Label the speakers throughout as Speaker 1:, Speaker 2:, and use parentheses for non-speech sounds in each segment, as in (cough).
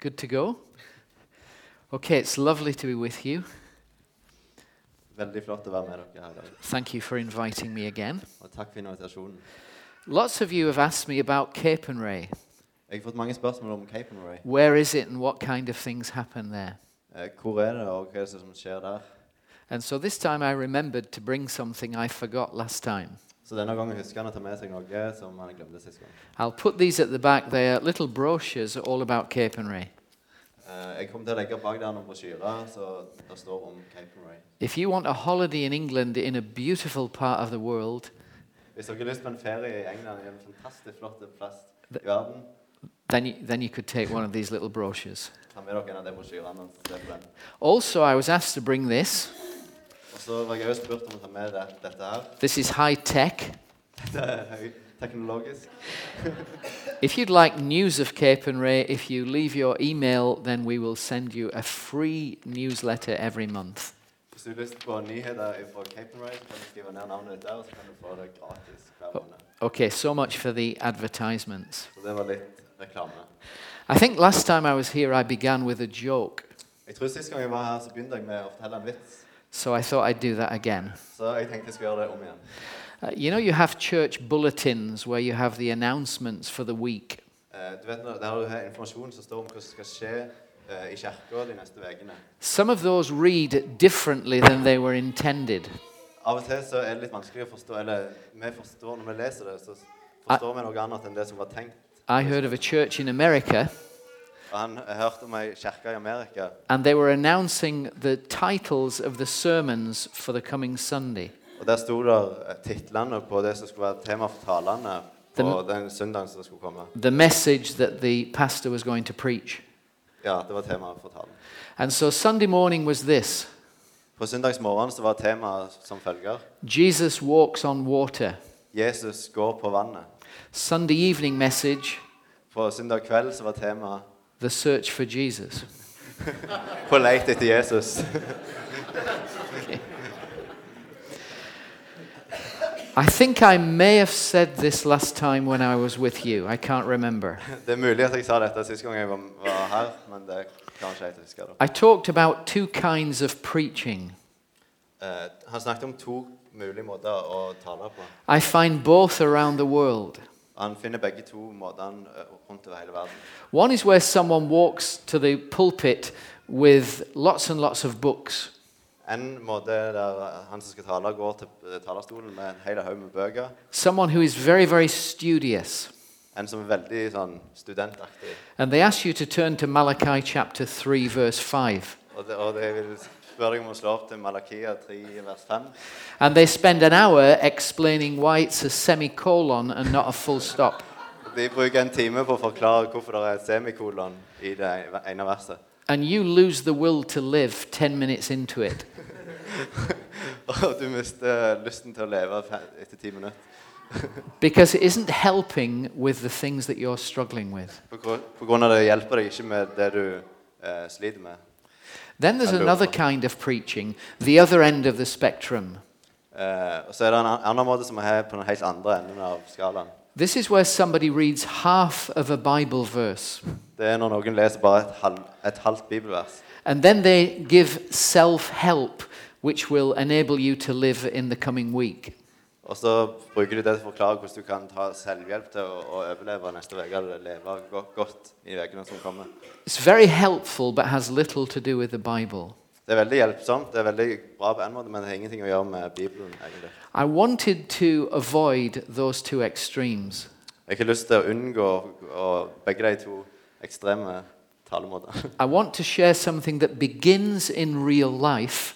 Speaker 1: Good to go. Okay, it's lovely to be with you.
Speaker 2: Veldig flott å være med dere her i dag.
Speaker 1: Thank you for inviting me again.
Speaker 2: Og takk for invitasjonen.
Speaker 1: Lots of you have asked me about Capenray.
Speaker 2: Jeg har fått mange spørsmål om Cape and Ray.
Speaker 1: Where is it and what kind of things happen there?
Speaker 2: Eh, Hvor er det, og hva er det som skjer der?
Speaker 1: And so this time I remembered to bring something I forgot last time.
Speaker 2: Så denne gangen husker han å ta med seg noe som han glemte sist gang.
Speaker 1: I'll put these at the back. They are little brochures all about Capenray.
Speaker 2: Eh, Jeg kommer til å legge bak der noen brosjyrer som det står om Cape and Ray.
Speaker 1: If you want a holiday in England in a beautiful part of the world,
Speaker 2: Hvis dere har lyst på en ferie i England, i en fantastisk flott plass i verden,
Speaker 1: then you, then you could take one of these little brochures.
Speaker 2: ta med dere en av de brosjyrene og se på den.
Speaker 1: Also, I was asked to bring this.
Speaker 2: Og så var jeg også spurt om å ta med det- dette her. (laughs)
Speaker 1: This is high tech.
Speaker 2: Dette er høy- teknologisk.
Speaker 1: If you'd like news of Cape and Ray, if you leave your email, then we will send you a free newsletter every month.
Speaker 2: Hvis du har lyst på nyheter fra Cape and Ray, så kan du skrive ned navnet ditt der, og så kan du få det gratis hver måned.
Speaker 1: Okay, so much for the advertisements.
Speaker 2: Så det var litt reklame.
Speaker 1: I think last time I was here, I began with a joke,
Speaker 2: Jeg tror sist gang jeg var her, så begynte jeg med å fortelle en vits.
Speaker 1: so I thought I'd do that again.
Speaker 2: Så jeg tenkte jeg skulle gjøre det om igjen.
Speaker 1: Uh, you know, you have church bulletins where you have the announcements for the week.
Speaker 2: Eh, du vet, når- Der har du her informasjon som står om hva som skal skje eh, i kirka de neste ukene.
Speaker 1: Some of those read differently than they were intended.
Speaker 2: Av og til så er det litt vanskelig å forstå Eller vi forstår når vi leser det, så forstår vi noe annet enn det som var tenkt.
Speaker 1: I heard of a church in America,
Speaker 2: Og han jeg hørte om ei kirke i Amerika,
Speaker 1: and they were announcing the titles of the sermons for the coming Sunday.
Speaker 2: og der sto der eh, titlene på det som skulle være tema for talene på den søndagen som skulle komme.
Speaker 1: the message that the pastor was going to preach.
Speaker 2: Ja, det var temaet for talen.
Speaker 1: And so Sunday morning was this
Speaker 2: På søndagsmorgenen så var temaet som følger
Speaker 1: Jesus walks on water.
Speaker 2: Jesus går på vannet.
Speaker 1: Sunday evening message,
Speaker 2: På søndag kveld så var temaet
Speaker 1: the search for Jesus.
Speaker 2: På leit etter Jesus. (laughs)
Speaker 1: I think I may have said this last time when I was with you. I can't remember.
Speaker 2: Det er mulig at jeg sa dette sist gang jeg var, var her, men det klarer ikke jeg til å huske. det.
Speaker 1: I talked about two kinds of preaching.
Speaker 2: Eh, han snakket om to mulige måter å tale på.
Speaker 1: I find both around the world.
Speaker 2: Han finner begge to måtene eh, rundt over hele verden.
Speaker 1: One is where someone walks to the pulpit with lots and lots of books.
Speaker 2: En måte er der eh, han som skal tale, går til eh, talerstolen med en hel haug med bøker.
Speaker 1: Someone who is very, very studious.
Speaker 2: En som er veldig sånn studentaktig.
Speaker 1: And they ask you to turn to Malachi chapter 3, verse 5.
Speaker 2: Og det, og det jeg vil spørre deg om å slå opp til Malakia 3, vers 5.
Speaker 1: And they spend an hour explaining why it's a semicolon and not a full stop.
Speaker 2: De bruker en time på å forklare hvorfor det er et semikolon i det ene verset.
Speaker 1: And you lose the will to live 10 minutes into it.
Speaker 2: Og du mister lysten til å leve fe- etter ti minutter.
Speaker 1: Because it isn't helping with the things that you're struggling with.
Speaker 2: På grunn- på grunn av det hjelper deg ikke med det du eh, sliter med.
Speaker 1: Then there's
Speaker 2: Hello.
Speaker 1: another kind of preaching, the other end of the spectrum.
Speaker 2: Eh, og så er det en an- annen måte som er på den helt andre enden av skalaen.
Speaker 1: This is where somebody reads half of a Bible verse
Speaker 2: Det er når noen leser bare et, halv, et halvt bibelvers.
Speaker 1: and then they give self help, which will enable you to live in the coming week.
Speaker 2: Og så bruker de det til å forklare hvordan du kan ta selvhjelp til å, å overleve neste uke eller leve godt, godt i ukene som kommer.
Speaker 1: It's very helpful, but has little to do with the Bible.
Speaker 2: Det er veldig hjelpsomt, det er veldig bra på en måte, men det har ingenting å gjøre med Bibelen. egentlig.
Speaker 1: I wanted to avoid those two extremes.
Speaker 2: Jeg har ikke lyst til å unngå å- begge de to ekstreme talemåter. (laughs)
Speaker 1: I want to share something that begins in real life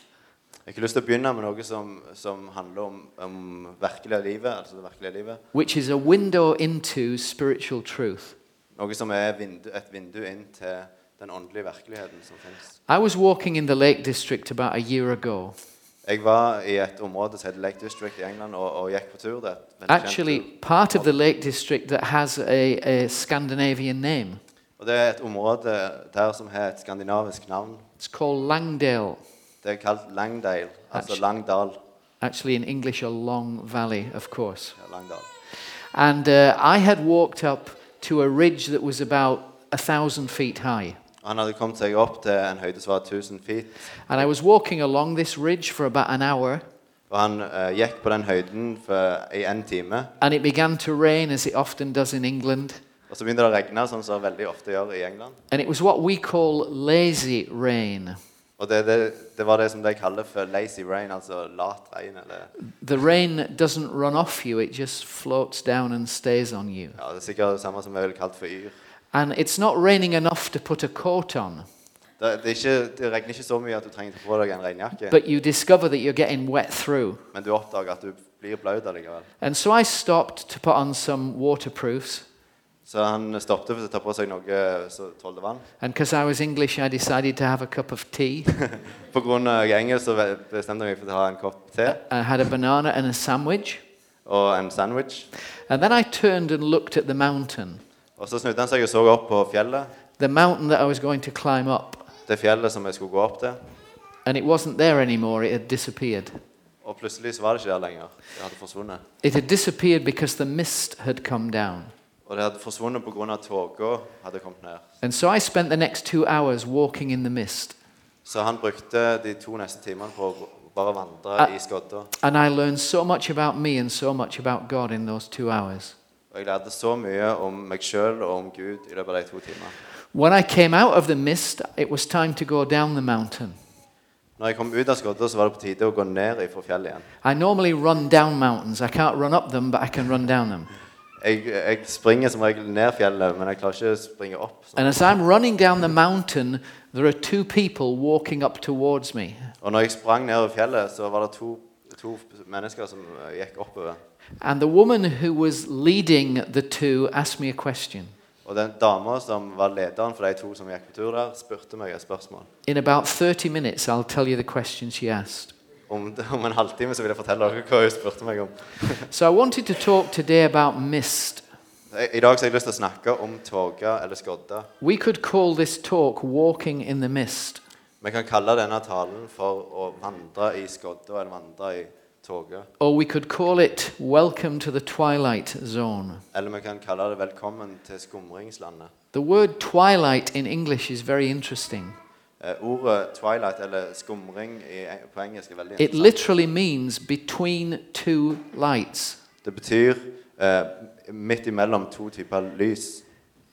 Speaker 2: Jeg har lyst til å begynne med noe som, som handler om, om virkelige livet, altså det virkelige livet.
Speaker 1: which is a window into spiritual truth.
Speaker 2: Noe som er vindu, et vindu inn til den åndelige virkeligheten som finnes.
Speaker 1: I was walking in the Lake District about a year ago.
Speaker 2: Jeg var i et område som heter Lake District i England og, og gikk på tur der. Et veldig kjent
Speaker 1: Actually,
Speaker 2: tur.
Speaker 1: part of the Lake District that has a, a Scandinavian name.
Speaker 2: Og det er et område der som har et skandinavisk navn.
Speaker 1: It's called Langdale.
Speaker 2: Det er kalt Langdale, altså
Speaker 1: Actu-
Speaker 2: Langdal.
Speaker 1: Actually, in English, a long valley, of course.
Speaker 2: Ja, Langdal.
Speaker 1: And uh, I had walked up to a ridge that was about a thousand feet high.
Speaker 2: Og han hadde kommet seg opp til en høyde som var 1000 feet.
Speaker 1: And I was walking along this ridge for about an hour,
Speaker 2: Og han eh, gikk på den høyden for, i en time.
Speaker 1: and it began to rain as it often does in England.
Speaker 2: Og så begynte det å regne, sånn som det veldig ofte gjør i England.
Speaker 1: And it was what we call lazy rain.
Speaker 2: Og det, det, det var det som de kaller for lazy rain, altså lat regn. Eller,
Speaker 1: The rain doesn't run off you, it just floats down and stays on you.
Speaker 2: ja, det er sikkert det samme som vi ville kalt for yr.
Speaker 1: And it's not raining enough to put a coat on,
Speaker 2: Det, det, er ikke, det regner ikke så mye at du trenger å få på deg en regnjakke,
Speaker 1: but you discover that you're getting wet through.
Speaker 2: men du oppdager at du blir blaut allikevel.
Speaker 1: And so I stopped to put on some waterproofs.
Speaker 2: Så han stoppet for å ta på seg noe som tålte vann.
Speaker 1: And because I was English, I decided to have a cup of tea.
Speaker 2: På grunn av engelsk så ve- bestemte jeg meg for å ta en kopp te
Speaker 1: I had a banana and a sandwich.
Speaker 2: og en sandwich.
Speaker 1: And then I turned and looked at the mountain,
Speaker 2: Og så snudde han seg og så opp på fjellet,
Speaker 1: the mountain that I was going to climb up.
Speaker 2: det fjellet som jeg skulle gå opp til.
Speaker 1: And it wasn't there anymore, it had disappeared.
Speaker 2: Og plutselig så var det ikke der lenger. Det hadde forsvunnet.
Speaker 1: It had disappeared because the mist had come down.
Speaker 2: Og det hadde forsvunnet på grunn av at tåka hadde kommet ned.
Speaker 1: And so I spent the next two hours walking in the mist.
Speaker 2: Så han brukte de to neste timene på å bare vandre
Speaker 1: Ah.
Speaker 2: i skodda.
Speaker 1: And I learned so much about me and so much about God in those two hours.
Speaker 2: Og jeg lærte så mye om meg sjøl og om Gud i løpet av de to timene.
Speaker 1: When I came out of the mist, it was time to go down the mountain.
Speaker 2: Når jeg kom ut av skodda, så var det på tide å gå ned ifra fjellet igjen.
Speaker 1: I normally run down mountains. I can't run up them, but I can run down them.
Speaker 2: Jeg, jeg springer som regel ned fjellet, men jeg klarer ikke å springe opp. Sånn.
Speaker 1: And as I'm running down the mountain, there are two people walking up towards me.
Speaker 2: Og når jeg sprang nedover fjellet, så var det to, to mennesker som eh, gikk oppover.
Speaker 1: And the woman who was leading the two asked me a question.
Speaker 2: Og den dama som var lederen for de to som gikk på tur der, spurte meg et spørsmål.
Speaker 1: In about 30 minutes, I'll tell you the question she asked.
Speaker 2: Om, (laughs) om en halvtime så vil jeg fortelle dere hva hun spurte meg om.
Speaker 1: So I wanted to talk today about mist.
Speaker 2: I i dag så har jeg lyst til å snakke om tåke eller skodde.
Speaker 1: We could call this talk Walking in the Mist.
Speaker 2: Vi kan kalle denne talen for å vandre i skodda eller vandre i tåke.
Speaker 1: Or we could call it Welcome to the Twilight Zone.
Speaker 2: Eller vi kan kalle det 'Velkommen til skumringslandet'.
Speaker 1: The word twilight in English is very interesting.
Speaker 2: Eh, ordet 'twilight' eller 'skumring' i, eng- på engelsk er veldig
Speaker 1: It
Speaker 2: interessant.
Speaker 1: literally means between two lights.
Speaker 2: Det betyr eh, midt imellom to typer lys.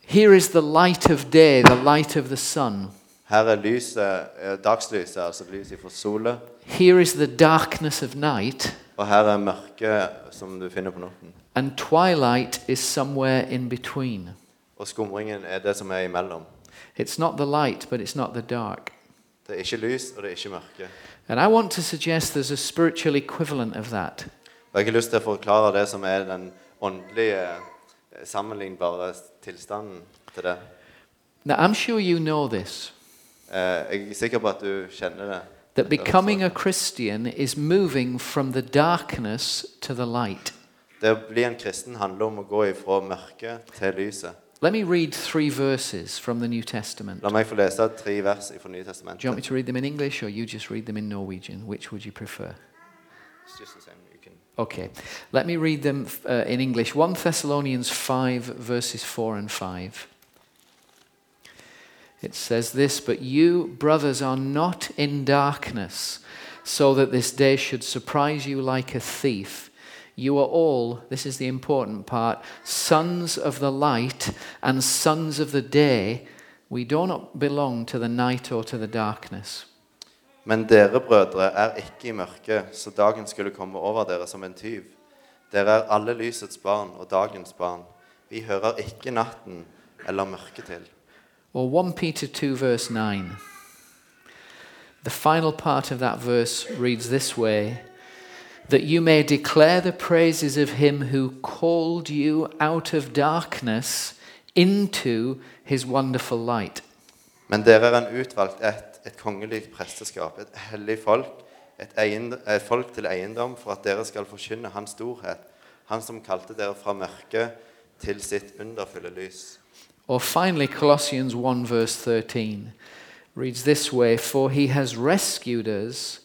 Speaker 1: Here is the light of day, the light of the sun.
Speaker 2: Her er lyset, eh, dagslyset, altså lyset fra sola.
Speaker 1: Here is the darkness of night,
Speaker 2: Og her er mørket som du finner på natten.
Speaker 1: and twilight is somewhere in between.
Speaker 2: Og skumringen er det som er imellom.
Speaker 1: It's not the light, but it's not the dark.
Speaker 2: Det er ikke lys, og det er ikke mørke.
Speaker 1: And I want to suggest there's a spiritual equivalent of that.
Speaker 2: Og jeg har lyst til å forklare det som er den åndelige, eh, sammenlignbare s- tilstanden til det.
Speaker 1: Now, I'm sure you know this
Speaker 2: Eh, Jeg er sikker på at du kjenner det.
Speaker 1: that becoming a Christian is moving from the darkness to the light.
Speaker 2: Det å bli en kristen handler om å gå ifra mørket til lyset.
Speaker 1: Let me read three verses from the New Testament.
Speaker 2: La meg få lese tre vers fra Nye
Speaker 1: Do you want
Speaker 2: testamentet.
Speaker 1: me to read them in English or you just read them in Norwegian? Which would you prefer?
Speaker 2: It's just the same, you can-
Speaker 1: Okay, let me read them uh, in English. 1 Thessalonians 5, verses 4 and 5. It says this But you, brothers, are not in darkness, so that this day should surprise you like a thief. You are all, this is the important part, sons of the light and sons of the day. We do not belong to the night or to the darkness.
Speaker 2: Men dere, brødre, er ikke i mørket, så dagen skulle komme over dere som en tyv. Dere er alle lysets barn og dagens barn. Vi hører ikke natten eller mørket til.
Speaker 1: Or 1 Peter 2, verse 9. The final part of that verse reads this way that you may declare the praises of him who called you out of darkness into his wonderful light.
Speaker 2: Men dere er en utvalgt ett, et kongelig presteskap, et hellig folk, et, eiend- et folk til eiendom, for at dere skal forkynne Hans storhet, Han som kalte dere fra mørket til sitt underfulle lys.
Speaker 1: Or finally, Colossians 1, verse 13 reads this way For he has rescued us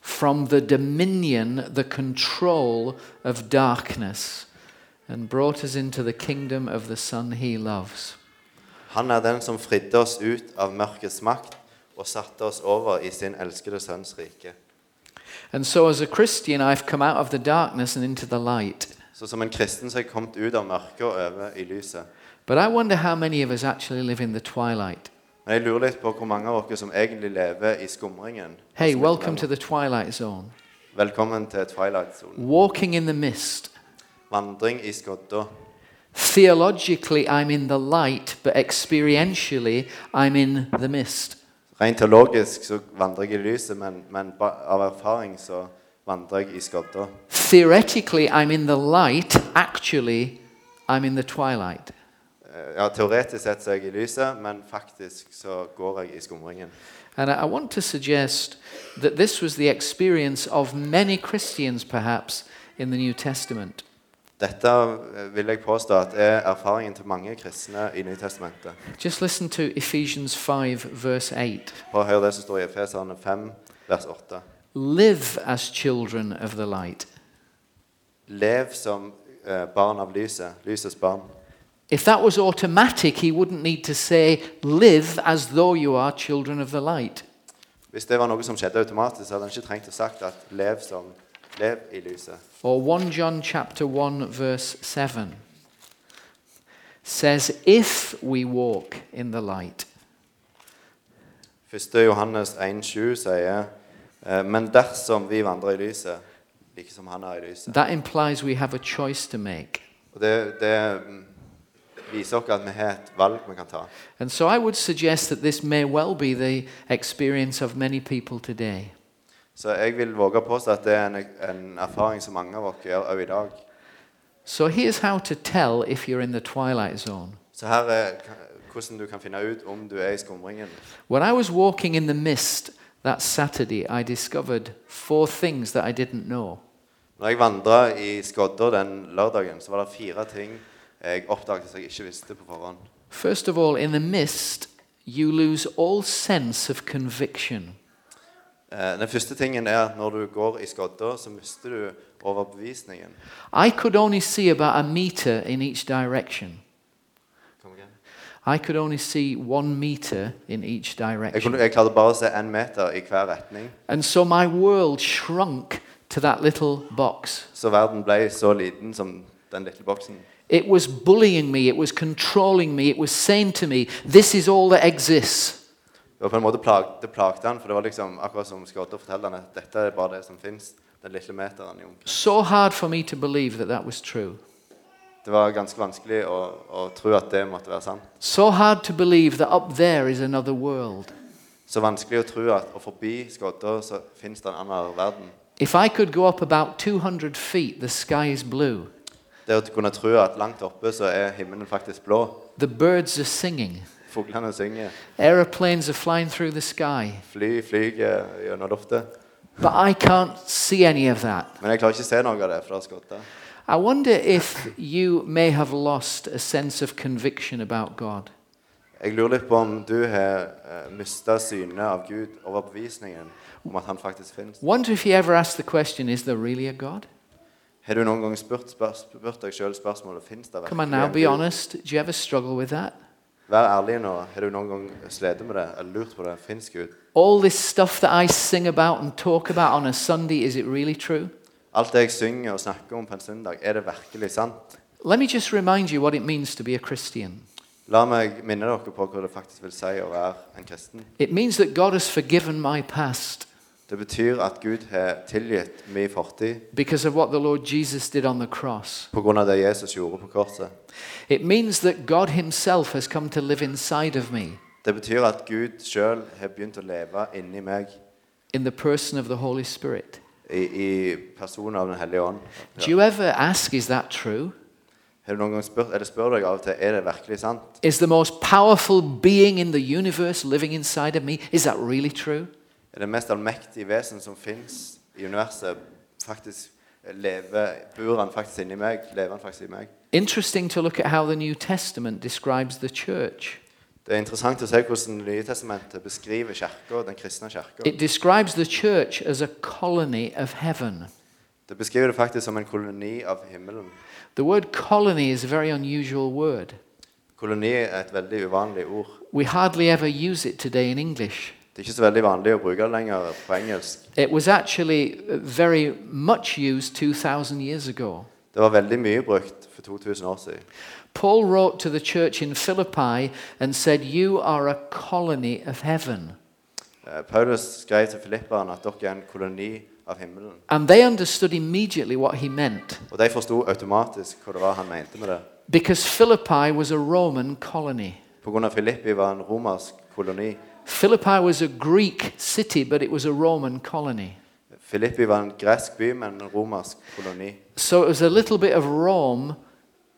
Speaker 1: from the dominion, the control of darkness, and brought us into the kingdom of the Son he loves.
Speaker 2: Han er den som fridde oss ut av mørkets makt og satte oss over i sin elskede sønns rike.
Speaker 1: And so, as a Christian, I've come out of the darkness and into the light.
Speaker 2: Så som en kristen så har jeg kommet ut av mørket og over i lyset.
Speaker 1: But I wonder how many of us actually live in the twilight.
Speaker 2: Men jeg lurer litt på hvor mange av dere som egentlig lever i skumringen.
Speaker 1: Hey,
Speaker 2: Som
Speaker 1: welcome to
Speaker 2: ikke
Speaker 1: the twilight zone.
Speaker 2: lever. Velkommen til Twilight-sonen.
Speaker 1: Walking in the mist.
Speaker 2: Vandring i skodda.
Speaker 1: Theologically, I'm in the light, but experientially, I'm in the mist.
Speaker 2: Rent teologisk så vandrer jeg i lyset, men, men ba- av erfaring så vandrer jeg i skodda.
Speaker 1: Theoretically, I'm in the light, actually, I'm in the twilight.
Speaker 2: Eh, Ja, teoretisk sett så er jeg i lyset, men faktisk så går jeg i skumringen.
Speaker 1: And I I want to suggest that this was the experience of many Christians, perhaps, in the New Testament.
Speaker 2: Dette eh, vil jeg påstå at er erfaringen til mange kristne i Nytestamentet.
Speaker 1: Just listen to Ephesians 5, verse 8.
Speaker 2: Bare hør det som står i Efeserne 5, vers 8.
Speaker 1: Live as children of the light.
Speaker 2: Lev som eh, barn av lyset, lysets barn.
Speaker 1: If that was automatic, he wouldn't need to say, Live as though you are children of the light.
Speaker 2: Hvis det var noe som skjedde automatisk, så hadde han ikke trengt å sagt at lev som lev i lyset.
Speaker 1: Or 1 John chapter 1 verse 7 says if we walk in the light
Speaker 2: 1. Johannes 1,7 sier eh, Men dersom vi vandrer i lyset, like som han er i lyset
Speaker 1: that implies we have a choice to make.
Speaker 2: Og det, det mm, viser oss at vi har et valg vi kan ta.
Speaker 1: And so I would suggest that this may well be the experience of many people today.
Speaker 2: Så jeg vil våge å påstå at det er en, en erfaring som mange av oss gjør også i dag.
Speaker 1: So here's how to tell if you're in the twilight zone.
Speaker 2: Så her er k- hvordan du kan finne ut om du er i skumringen.
Speaker 1: When I was walking in the mist that Saturday, I discovered four things that I didn't know.
Speaker 2: Når jeg vandra i skodda den lørdagen, så var det fire ting jeg oppdaget som jeg ikke visste på forhånd.
Speaker 1: First of all, in the mist, you lose all sense of conviction.
Speaker 2: Eh, Den første tingen er at når du går i skodda, så mister du overbevisningen.
Speaker 1: I could only see about a meter in each direction.
Speaker 2: Kom igjen.
Speaker 1: I could only see one meter in each
Speaker 2: Jeg, kunne,
Speaker 1: direction.
Speaker 2: jeg klarte bare å se én meter i hver retning,
Speaker 1: And so my world shrunk to that little box.
Speaker 2: så verden ble så liten som den lille boksen.
Speaker 1: It was bullying me, it was controlling me, it was saying to me, This is all that exists.
Speaker 2: Det var på en måte plag, det plagte han, for det var liksom akkurat som skodda forteller han at dette er bare det som fins. Den lille meteren i omkrets.
Speaker 1: So hard for me to believe that that was true.
Speaker 2: Det var ganske vanskelig å, å tro at det måtte være sant.
Speaker 1: So hard to believe that up there is another world.
Speaker 2: Så vanskelig å tro at og forbi skodda så fins det en annen verden.
Speaker 1: If I could go up about 200 feet, the sky is blue,
Speaker 2: Det å kunne tro at langt oppe så er himmelen faktisk blå.
Speaker 1: the birds are singing,
Speaker 2: Fuglene synger.
Speaker 1: aeroplanes are flying through the sky.
Speaker 2: Fly flyr gjennom lufta.
Speaker 1: But I can't see any of that.
Speaker 2: Men jeg klarer ikke å se noe av det, for det er skodda.
Speaker 1: I wonder if you may have lost a sense of conviction about God.
Speaker 2: Jeg lurer litt på om du har mista synet av Gud, overbevisningen om at han faktisk fins.
Speaker 1: Wonder if you ever asked the question, is there really a God?
Speaker 2: Har du noen gang spurt, spørs- spurt deg sjøl spørsmålet fins det
Speaker 1: Come on now, be
Speaker 2: Gud?
Speaker 1: honest. Do you ever struggle with that?
Speaker 2: Vær ærlig nå. Har du noen gang slitt med det eller lurt på det? Fins Gud?
Speaker 1: All this stuff that I sing about and talk about on a Sunday, is it really true?
Speaker 2: Alt det jeg synger og snakker om på en søndag, er det virkelig sant?
Speaker 1: Let me just remind you what it means to be a Christian.
Speaker 2: La meg minne dere på hva det faktisk vil si å være en kristen.
Speaker 1: It means that God has forgiven my past
Speaker 2: Det betyr at Gud har tilgitt min fortid
Speaker 1: because of what the Lord Jesus did on the cross.
Speaker 2: pga. det Jesus gjorde på korset.
Speaker 1: It means that God Himself has come to live inside of me
Speaker 2: Det betyr at Gud sjøl har begynt å leve inni meg,
Speaker 1: in the person of the Holy Spirit.
Speaker 2: i, i personen av Den hellige ånd.
Speaker 1: Do you ever ask, is that true?
Speaker 2: Har du noen gang spurt, eller spør deg av og til er det virkelig sant?
Speaker 1: Is the most powerful being in the universe living inside of me? Is that really true?
Speaker 2: Er det mest allmektige vesen som fins i universet, faktisk lever, bor han faktisk inni meg? Lever han faktisk i meg?
Speaker 1: Interesting to look at how the New Testament describes the church.
Speaker 2: Det er interessant å se hvordan Det nye testamentet beskriver kirka, den kristne kirka.
Speaker 1: It describes the church as a colony of heaven.
Speaker 2: Det beskriver det faktisk som en koloni av himmelen.
Speaker 1: The word colony is a very unusual word.
Speaker 2: Koloni er et veldig uvanlig ord.
Speaker 1: We hardly ever use it today in English.
Speaker 2: Det er ikke så veldig vanlig å bruke det lenger på engelsk.
Speaker 1: It was actually uh, very much used 2,000 years ago.
Speaker 2: Det var veldig mye brukt for 2000 år siden.
Speaker 1: Paul wrote to the church in Philippi and said, You are a colony of heaven.
Speaker 2: Eh, Paulus skrev til filipperne at dere er en koloni av himmelen.
Speaker 1: And they understood immediately what he meant
Speaker 2: Og de forsto automatisk hva det var han mente med det.
Speaker 1: because Philippi was a Roman colony.
Speaker 2: Pga. Filippi var en romersk koloni.
Speaker 1: Philippi was a Greek city, but it was a Roman colony.
Speaker 2: Filippi var en gresk by, men en romersk koloni.
Speaker 1: So it was a little bit of Rome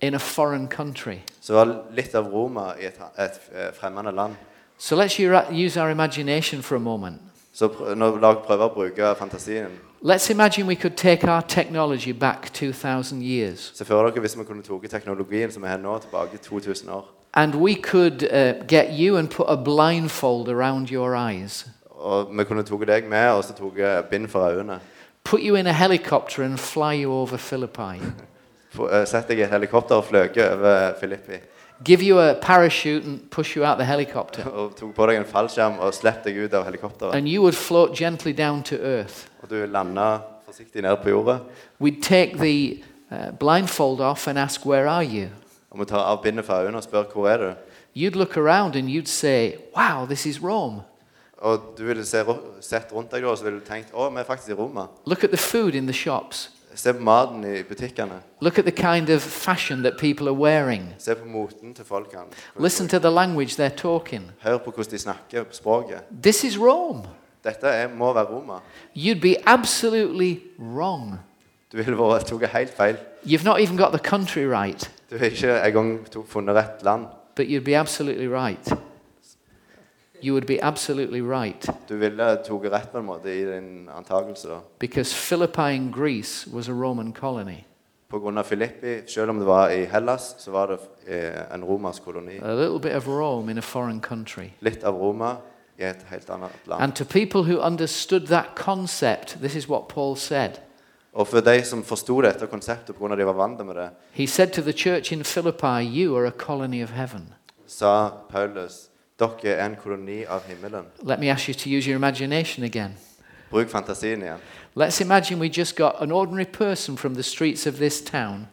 Speaker 1: in a foreign country.
Speaker 2: Så det var litt av Roma i et, et eh, fremmede land.
Speaker 1: So let's u- use our imagination for a moment.
Speaker 2: Så pr når lag prøver å bruke fantasien
Speaker 1: Let's imagine we could take our technology back 2,000 years
Speaker 2: Se for dere hvis vi kunne tatt teknologien som vi har nå, tilbake 2000 år.
Speaker 1: and we could uh, get you and put a blindfold around your eyes,
Speaker 2: Og vi kunne tatt deg med, og så tok jeg bind for øynene.
Speaker 1: put you in a helicopter and fly you over Philippi,
Speaker 2: Få- eh, Sett deg i et helikopter og fløy over Filippi.
Speaker 1: give you a parachute and push you out the helicopter,
Speaker 2: Og tok på deg en fallskjerm og slapp deg ut av helikopteret.
Speaker 1: and you would float gently down to earth.
Speaker 2: Og du landa forsiktig ned på jorda.
Speaker 1: We'd take the uh, blindfold off and ask, Where are you?
Speaker 2: Og vi tar av bindet for øynene og spør hvor er du
Speaker 1: You'd look around and you'd say, Wow, this is Rome.
Speaker 2: Og du ville se, ro- sett rundt deg da, og så ville du tenkt å, vi er faktisk i Roma.
Speaker 1: Look at the food in the shops.
Speaker 2: Se på maten i butikkene.
Speaker 1: Look at the kind of fashion that people are wearing.
Speaker 2: Se på moten til folkene.
Speaker 1: Listen to the language they're talking.
Speaker 2: Hør på hvordan de snakker på språket.
Speaker 1: This is Rome.
Speaker 2: Dette er, må være Roma.
Speaker 1: You'd be absolutely wrong.
Speaker 2: Du ville vært tatt helt feil.
Speaker 1: You've not even got the country right,
Speaker 2: Du har ikke engang to- funnet rett land.
Speaker 1: but you'd be absolutely right. You would be absolutely right
Speaker 2: Du ville tatt rett på en måte i din antakelse da.
Speaker 1: because Philippi in Greece was a Roman colony.
Speaker 2: På grunn av Filippi, selv om det var i Hellas, så var det eh, en romersk koloni.
Speaker 1: A little bit of Rome in a foreign country.
Speaker 2: Litt av Roma i et helt annet land.
Speaker 1: And to people who understood that concept, this is what Paul said.
Speaker 2: Og for de som forsto dette konseptet pga. de var vant med det,
Speaker 1: He said to the church in Philippi, You are a colony of heaven.
Speaker 2: sa Paulus dere er en koloni av himmelen.
Speaker 1: Let me ask you to use your imagination again.
Speaker 2: Bruk fantasien igjen.
Speaker 1: Let's imagine we just got an ordinary person from the streets of this town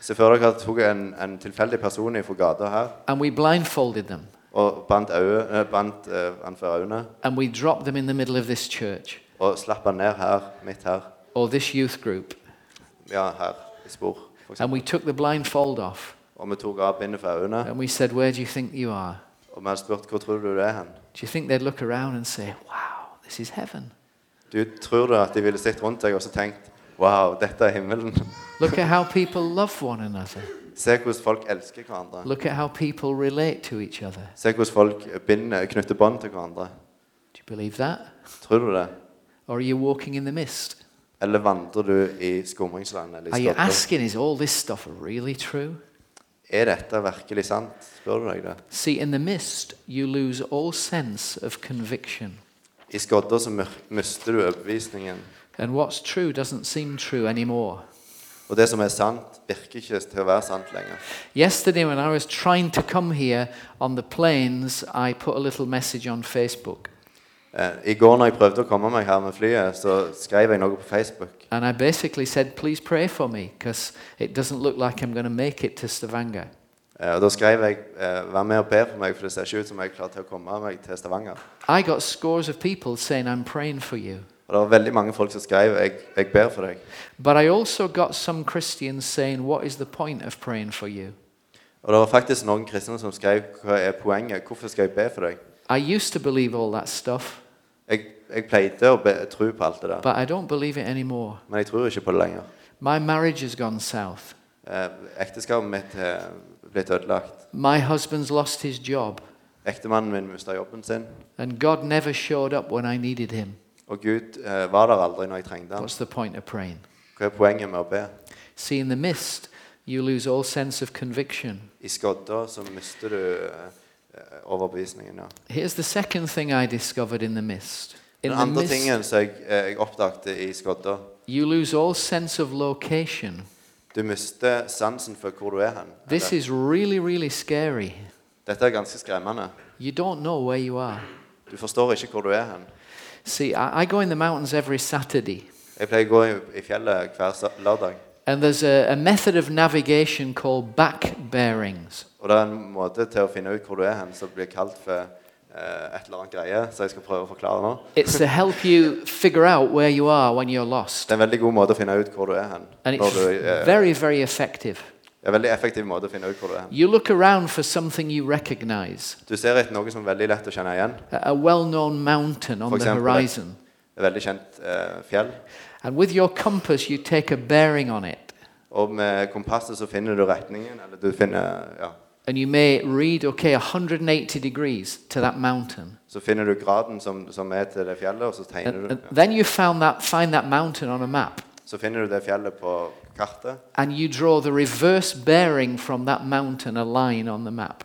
Speaker 2: Se for dere at tok en, en tilfeldig person fra gata her
Speaker 1: and we blindfolded them
Speaker 2: og bandt, øye, eh, bandt eh, han for øynene
Speaker 1: and we dropped them in the middle of this church
Speaker 2: og slapp han ned her, midt her,
Speaker 1: or this youth group
Speaker 2: ja, her i spor. for eksempel.
Speaker 1: and we took the blindfold off
Speaker 2: Og vi tok av bindet for øynene,
Speaker 1: and we said, Where do you think you are?
Speaker 2: og vi hadde spurt hvor tror du det er hen.
Speaker 1: Do you think they'd look around and say, Wow, this is heaven?
Speaker 2: Du tror du at de ville sett rundt deg og så tenkt Wow, dette er himmelen.
Speaker 1: Look at how people love one another.
Speaker 2: Se hvordan folk elsker hverandre.
Speaker 1: Look at how people relate to each other.
Speaker 2: Se hvordan folk binder, knytter bånd til hverandre.
Speaker 1: Do you believe that?
Speaker 2: Tror du det?
Speaker 1: Or are you walking in the mist?
Speaker 2: Eller vandrer du i skumringsland? Eller
Speaker 1: Are
Speaker 2: i
Speaker 1: you
Speaker 2: stopper?
Speaker 1: asking, is all this stuff really true?
Speaker 2: Er dette virkelig sant? Spør du deg det?
Speaker 1: See, in the mist, you lose all sense of conviction.
Speaker 2: I skodder så myr- mister du overbevisningen.
Speaker 1: And what's true doesn't seem true anymore.
Speaker 2: Og det som er sant, virker ikke til å være sant lenger.
Speaker 1: Yesterday, when I was trying to come here on the planes, I put a little message on Facebook.
Speaker 2: Eh, I går når jeg prøvde å komme meg her med flyet, så skrev jeg noe på Facebook.
Speaker 1: And I basically said, please pray for me, because it doesn't look like I'm going to make it to Stavanger.
Speaker 2: Eh, og da skrev jeg eh, 'vær med og be for meg', for det ser ikke ut som jeg er klar til å komme meg til Stavanger.
Speaker 1: I got scores of people saying, I'm praying for you.
Speaker 2: Og det var veldig mange folk som skrev 'jeg, jeg ber for deg'.
Speaker 1: But I also got some Christians saying, What is the point of praying for you?
Speaker 2: Og det var faktisk noen kristne som skrev 'hva er poenget', hvorfor skal jeg be for deg'?
Speaker 1: I used to believe all that stuff,
Speaker 2: Jeg, jeg pleide å be, tro på alt det der,
Speaker 1: but I don't believe it anymore.
Speaker 2: men jeg tror ikke på det lenger.
Speaker 1: My marriage has gone south.
Speaker 2: Eh, ekteskapet mitt eh, blitt ødelagt.
Speaker 1: My husband's lost his job,
Speaker 2: Ektemannen min mista jobben sin.
Speaker 1: and God never showed up when I needed him.
Speaker 2: Og Gud eh, var der aldri når jeg trengte ham.
Speaker 1: What's the point of praying?
Speaker 2: Hva er poenget med å be?
Speaker 1: See, in the mist, you lose all sense of conviction.
Speaker 2: I skodda så mister du eh, overbevisningen. Ja.
Speaker 1: Here's the second thing I discovered in the mist. In
Speaker 2: Den
Speaker 1: the
Speaker 2: andre
Speaker 1: mist,
Speaker 2: tingen som jeg, eh, jeg oppdagte i skodda
Speaker 1: you lose all sense of location.
Speaker 2: Du mister sansen for hvor du er hen.
Speaker 1: This
Speaker 2: Eller,
Speaker 1: is really, really scary.
Speaker 2: Dette er ganske skremmende.
Speaker 1: You don't know where you are.
Speaker 2: Du forstår ikke hvor du er hen.
Speaker 1: See, I, I go in the mountains every Saturday,
Speaker 2: Jeg pleier å gå i- i fjellet hver sa- lørdag,
Speaker 1: and there's a, a method of navigation called back bearings.
Speaker 2: og det er en måte til å finne ut hvor du er hen, som blir kalt for eh, et eller annet greie, som jeg skal prøve å forklare nå.
Speaker 1: It's to help you figure out where you are when you're
Speaker 2: Det
Speaker 1: lost.
Speaker 2: er en veldig god måte å finne ut hvor du er hen.
Speaker 1: And
Speaker 2: Når
Speaker 1: it's
Speaker 2: du, eh,
Speaker 1: very, very effective.
Speaker 2: det er en veldig effektiv måte å finne ut hvor du er hen.
Speaker 1: You look around for something you recognize,
Speaker 2: Du ser etter noe som er veldig lett å kjenne igjen.
Speaker 1: a a well known mountain on
Speaker 2: For
Speaker 1: the
Speaker 2: example,
Speaker 1: horizon.
Speaker 2: Et veldig kjent eh, fjell.
Speaker 1: And with your compass, you take a bearing on it.
Speaker 2: Og med kompasset så finner du retningen, eller du finner Ja.
Speaker 1: And you may read, okay, 180 degrees to that mountain.
Speaker 2: Så finner du graden som, som er til det fjellet, og så tegner
Speaker 1: And,
Speaker 2: du
Speaker 1: and
Speaker 2: ja.
Speaker 1: then you found that, find that mountain on a map.
Speaker 2: Så finner du det fjellet på kartet,
Speaker 1: And you draw the reverse bearing from that mountain, a line on the map.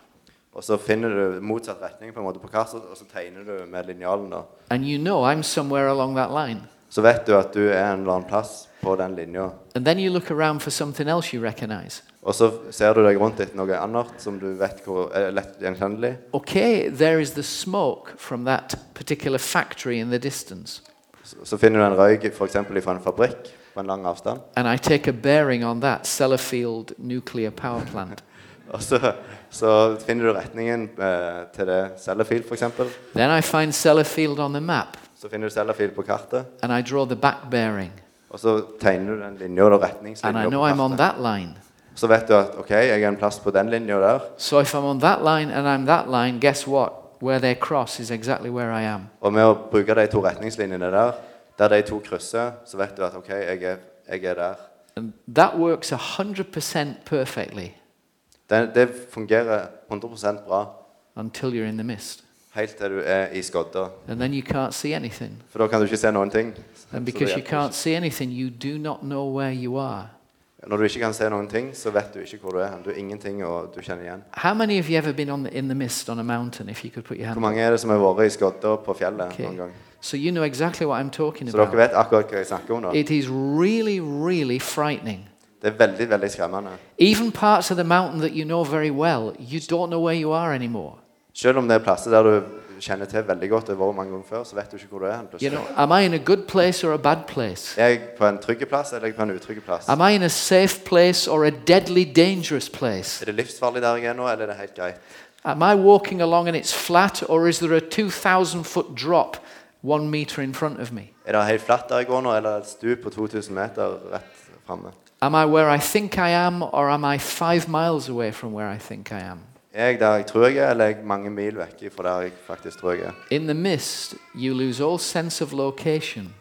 Speaker 2: og så finner du motsatt retning på en måte på kartet, og så tegner du med linjalen da.
Speaker 1: And you know I'm somewhere along that line.
Speaker 2: Så vet du at du er en eller annen plass på den linja.
Speaker 1: And then you look around for something else you recognize.
Speaker 2: Og så ser du deg rundt etter noe annet som du vet hvor er lett gjenkjennelig.
Speaker 1: Okay, there is the smoke from that particular factory in the distance.
Speaker 2: Så, så finner du en røyk f.eks. fra en fabrikk på en lang avstand.
Speaker 1: And I take a bearing on that Sellafield nuclear power plant.
Speaker 2: Og så, så finner du retningen eh, til det Sellafield f.eks.
Speaker 1: then I find Sellafield on the map
Speaker 2: Så finner du Sellafield på kartet,
Speaker 1: and I draw the back bearing.
Speaker 2: og så tegner du den linja og
Speaker 1: And I
Speaker 2: retningslinja
Speaker 1: know
Speaker 2: på
Speaker 1: I'm
Speaker 2: kartet.
Speaker 1: on that line.
Speaker 2: Så vet du at ok, jeg er en plass på den linja der.
Speaker 1: So if I'm on that line and I'm that line, guess what? Where they cross is exactly where I am.
Speaker 2: Og med å bruke de to retningslinjene der, der de to krysser, så vet du at OK, jeg er, jeg er der.
Speaker 1: And that works 100% perfectly
Speaker 2: Det, det fungerer 100 bra
Speaker 1: until you're in the mist.
Speaker 2: helt til du er i skodda.
Speaker 1: And then you can't see anything.
Speaker 2: For da kan du ikke se noen ting. Så
Speaker 1: And
Speaker 2: det
Speaker 1: because you
Speaker 2: hjelper
Speaker 1: can't see anything, you do not know where you are.
Speaker 2: ikke. Når du ikke kan se noen ting, så vet du ikke hvor du er. hen. Du er ingenting, og du kjenner igjen.
Speaker 1: How many of you ever been on the, in the mist on a mountain? If you could put your
Speaker 2: Hvor
Speaker 1: hand.
Speaker 2: mange er det som har vært i skodda på fjellet
Speaker 1: Okay.
Speaker 2: noen gang?
Speaker 1: So you know exactly what I'm talking
Speaker 2: Så dere
Speaker 1: about.
Speaker 2: vet akkurat hva jeg snakker om nå.
Speaker 1: It is really, really frightening.
Speaker 2: Det er veldig, veldig skremmende.
Speaker 1: Even parts of the mountain that you know very well, you don't know where you are anymore.
Speaker 2: Selv om det er plasser der du kjenner til veldig godt, og har vært mange ganger før, så vet du ikke hvor du er. hen
Speaker 1: You
Speaker 2: plutselig.
Speaker 1: know, am I in a good place or a bad place?
Speaker 2: Er jeg på en trygg plass, eller er jeg på en utrygg plass?
Speaker 1: Am I in a safe place or a deadly dangerous place?
Speaker 2: Er det livsfarlig der jeg er nå, eller er det helt greit?
Speaker 1: Am I walking along and it's flat or is there a 2,000 foot drop one meter in front of me?
Speaker 2: Er det helt flatt der jeg går nå, eller er det et stup på 2000 meter rett framme?
Speaker 1: Am I where I think I am or am I five miles away from where I think I am?
Speaker 2: Er jeg der jeg tror jeg er, eller er jeg mange mil vekk fra der jeg faktisk tror jeg er?
Speaker 1: In the mist, you lose all sense of location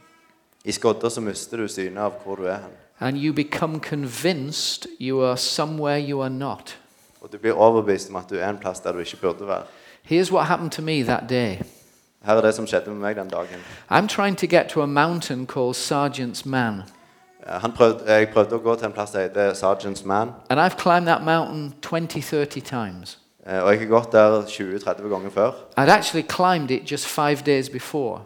Speaker 2: I skodda så mister du synet av hvor du er hen.
Speaker 1: and you become convinced you are somewhere you are not.
Speaker 2: Og du blir overbevist om at du er en plass der du ikke burde være.
Speaker 1: Here's what happened to me that day.
Speaker 2: Her er det som skjedde med meg den dagen.
Speaker 1: I'm trying to get to a mountain called Sergeant's Man,
Speaker 2: Eh, Han prøvde, jeg prøvde å gå til en plass som heter Sergeant's Man,
Speaker 1: and I've climbed that mountain 20, 30 times.
Speaker 2: eh, og jeg har gått der 20-30 ganger før.
Speaker 1: I'd actually climbed it just five days before,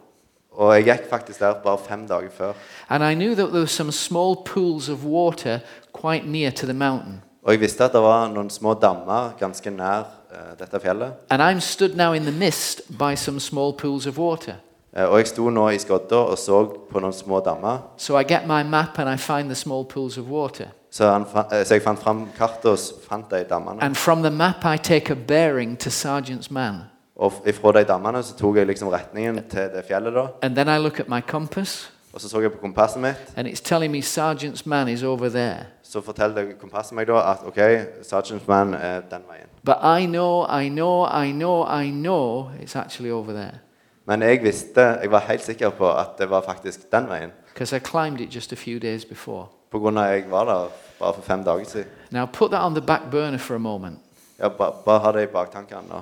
Speaker 2: Og jeg gikk faktisk der bare fem dager før.
Speaker 1: and I knew that there were some small pools of water quite near to the mountain.
Speaker 2: Og jeg visste at det var noen små dammer ganske nær eh, dette fjellet.
Speaker 1: And I'm stood now in the mist by some small pools of water.
Speaker 2: Eh, Og jeg sto nå i skodda og så på noen små dammer.
Speaker 1: So I get my map and I find the small pools of water.
Speaker 2: Så, han, fa- eh, så jeg fant fram kartet og s- fant de dammene.
Speaker 1: And from the map, I take a bearing to Sergeant's Man.
Speaker 2: Og f- ifra de dammene så tok jeg liksom retningen til det fjellet, da.
Speaker 1: And then I look at my compass,
Speaker 2: Og så så jeg på kompasset mitt.
Speaker 1: and it's telling me Sergeant's Man is over there.
Speaker 2: Så forteller kompasset meg da at OK, Sergeant Man er den veien.
Speaker 1: But I know, I know, I know, I know it's actually over there
Speaker 2: Men jeg visste, jeg var helt sikker på at det var faktisk den veien.
Speaker 1: because I climbed it just a few days before.
Speaker 2: På grunn av at jeg var der bare for fem dager siden.
Speaker 1: Now put that on the back burner for a moment.
Speaker 2: Ja, ba- bare ha det i baktankene nå.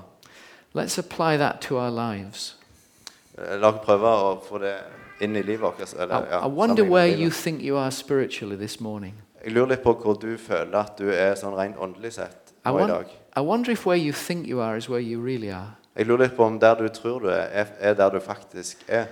Speaker 1: Let's apply that to our lives.
Speaker 2: Eh, La oss prøve å få det inn i livet vårt. altså,
Speaker 1: I,
Speaker 2: Eller, ja,
Speaker 1: I wonder
Speaker 2: sammenligne
Speaker 1: where
Speaker 2: livet.
Speaker 1: you think you are spiritually this morning.
Speaker 2: Jeg lurer litt på hvor du føler at du er sånn rent åndelig sett
Speaker 1: I,
Speaker 2: nå i
Speaker 1: won-
Speaker 2: dag.
Speaker 1: I wonder if where you think you are is where you really are.
Speaker 2: Jeg lurer litt på om der du tror du er, er- er der du faktisk er.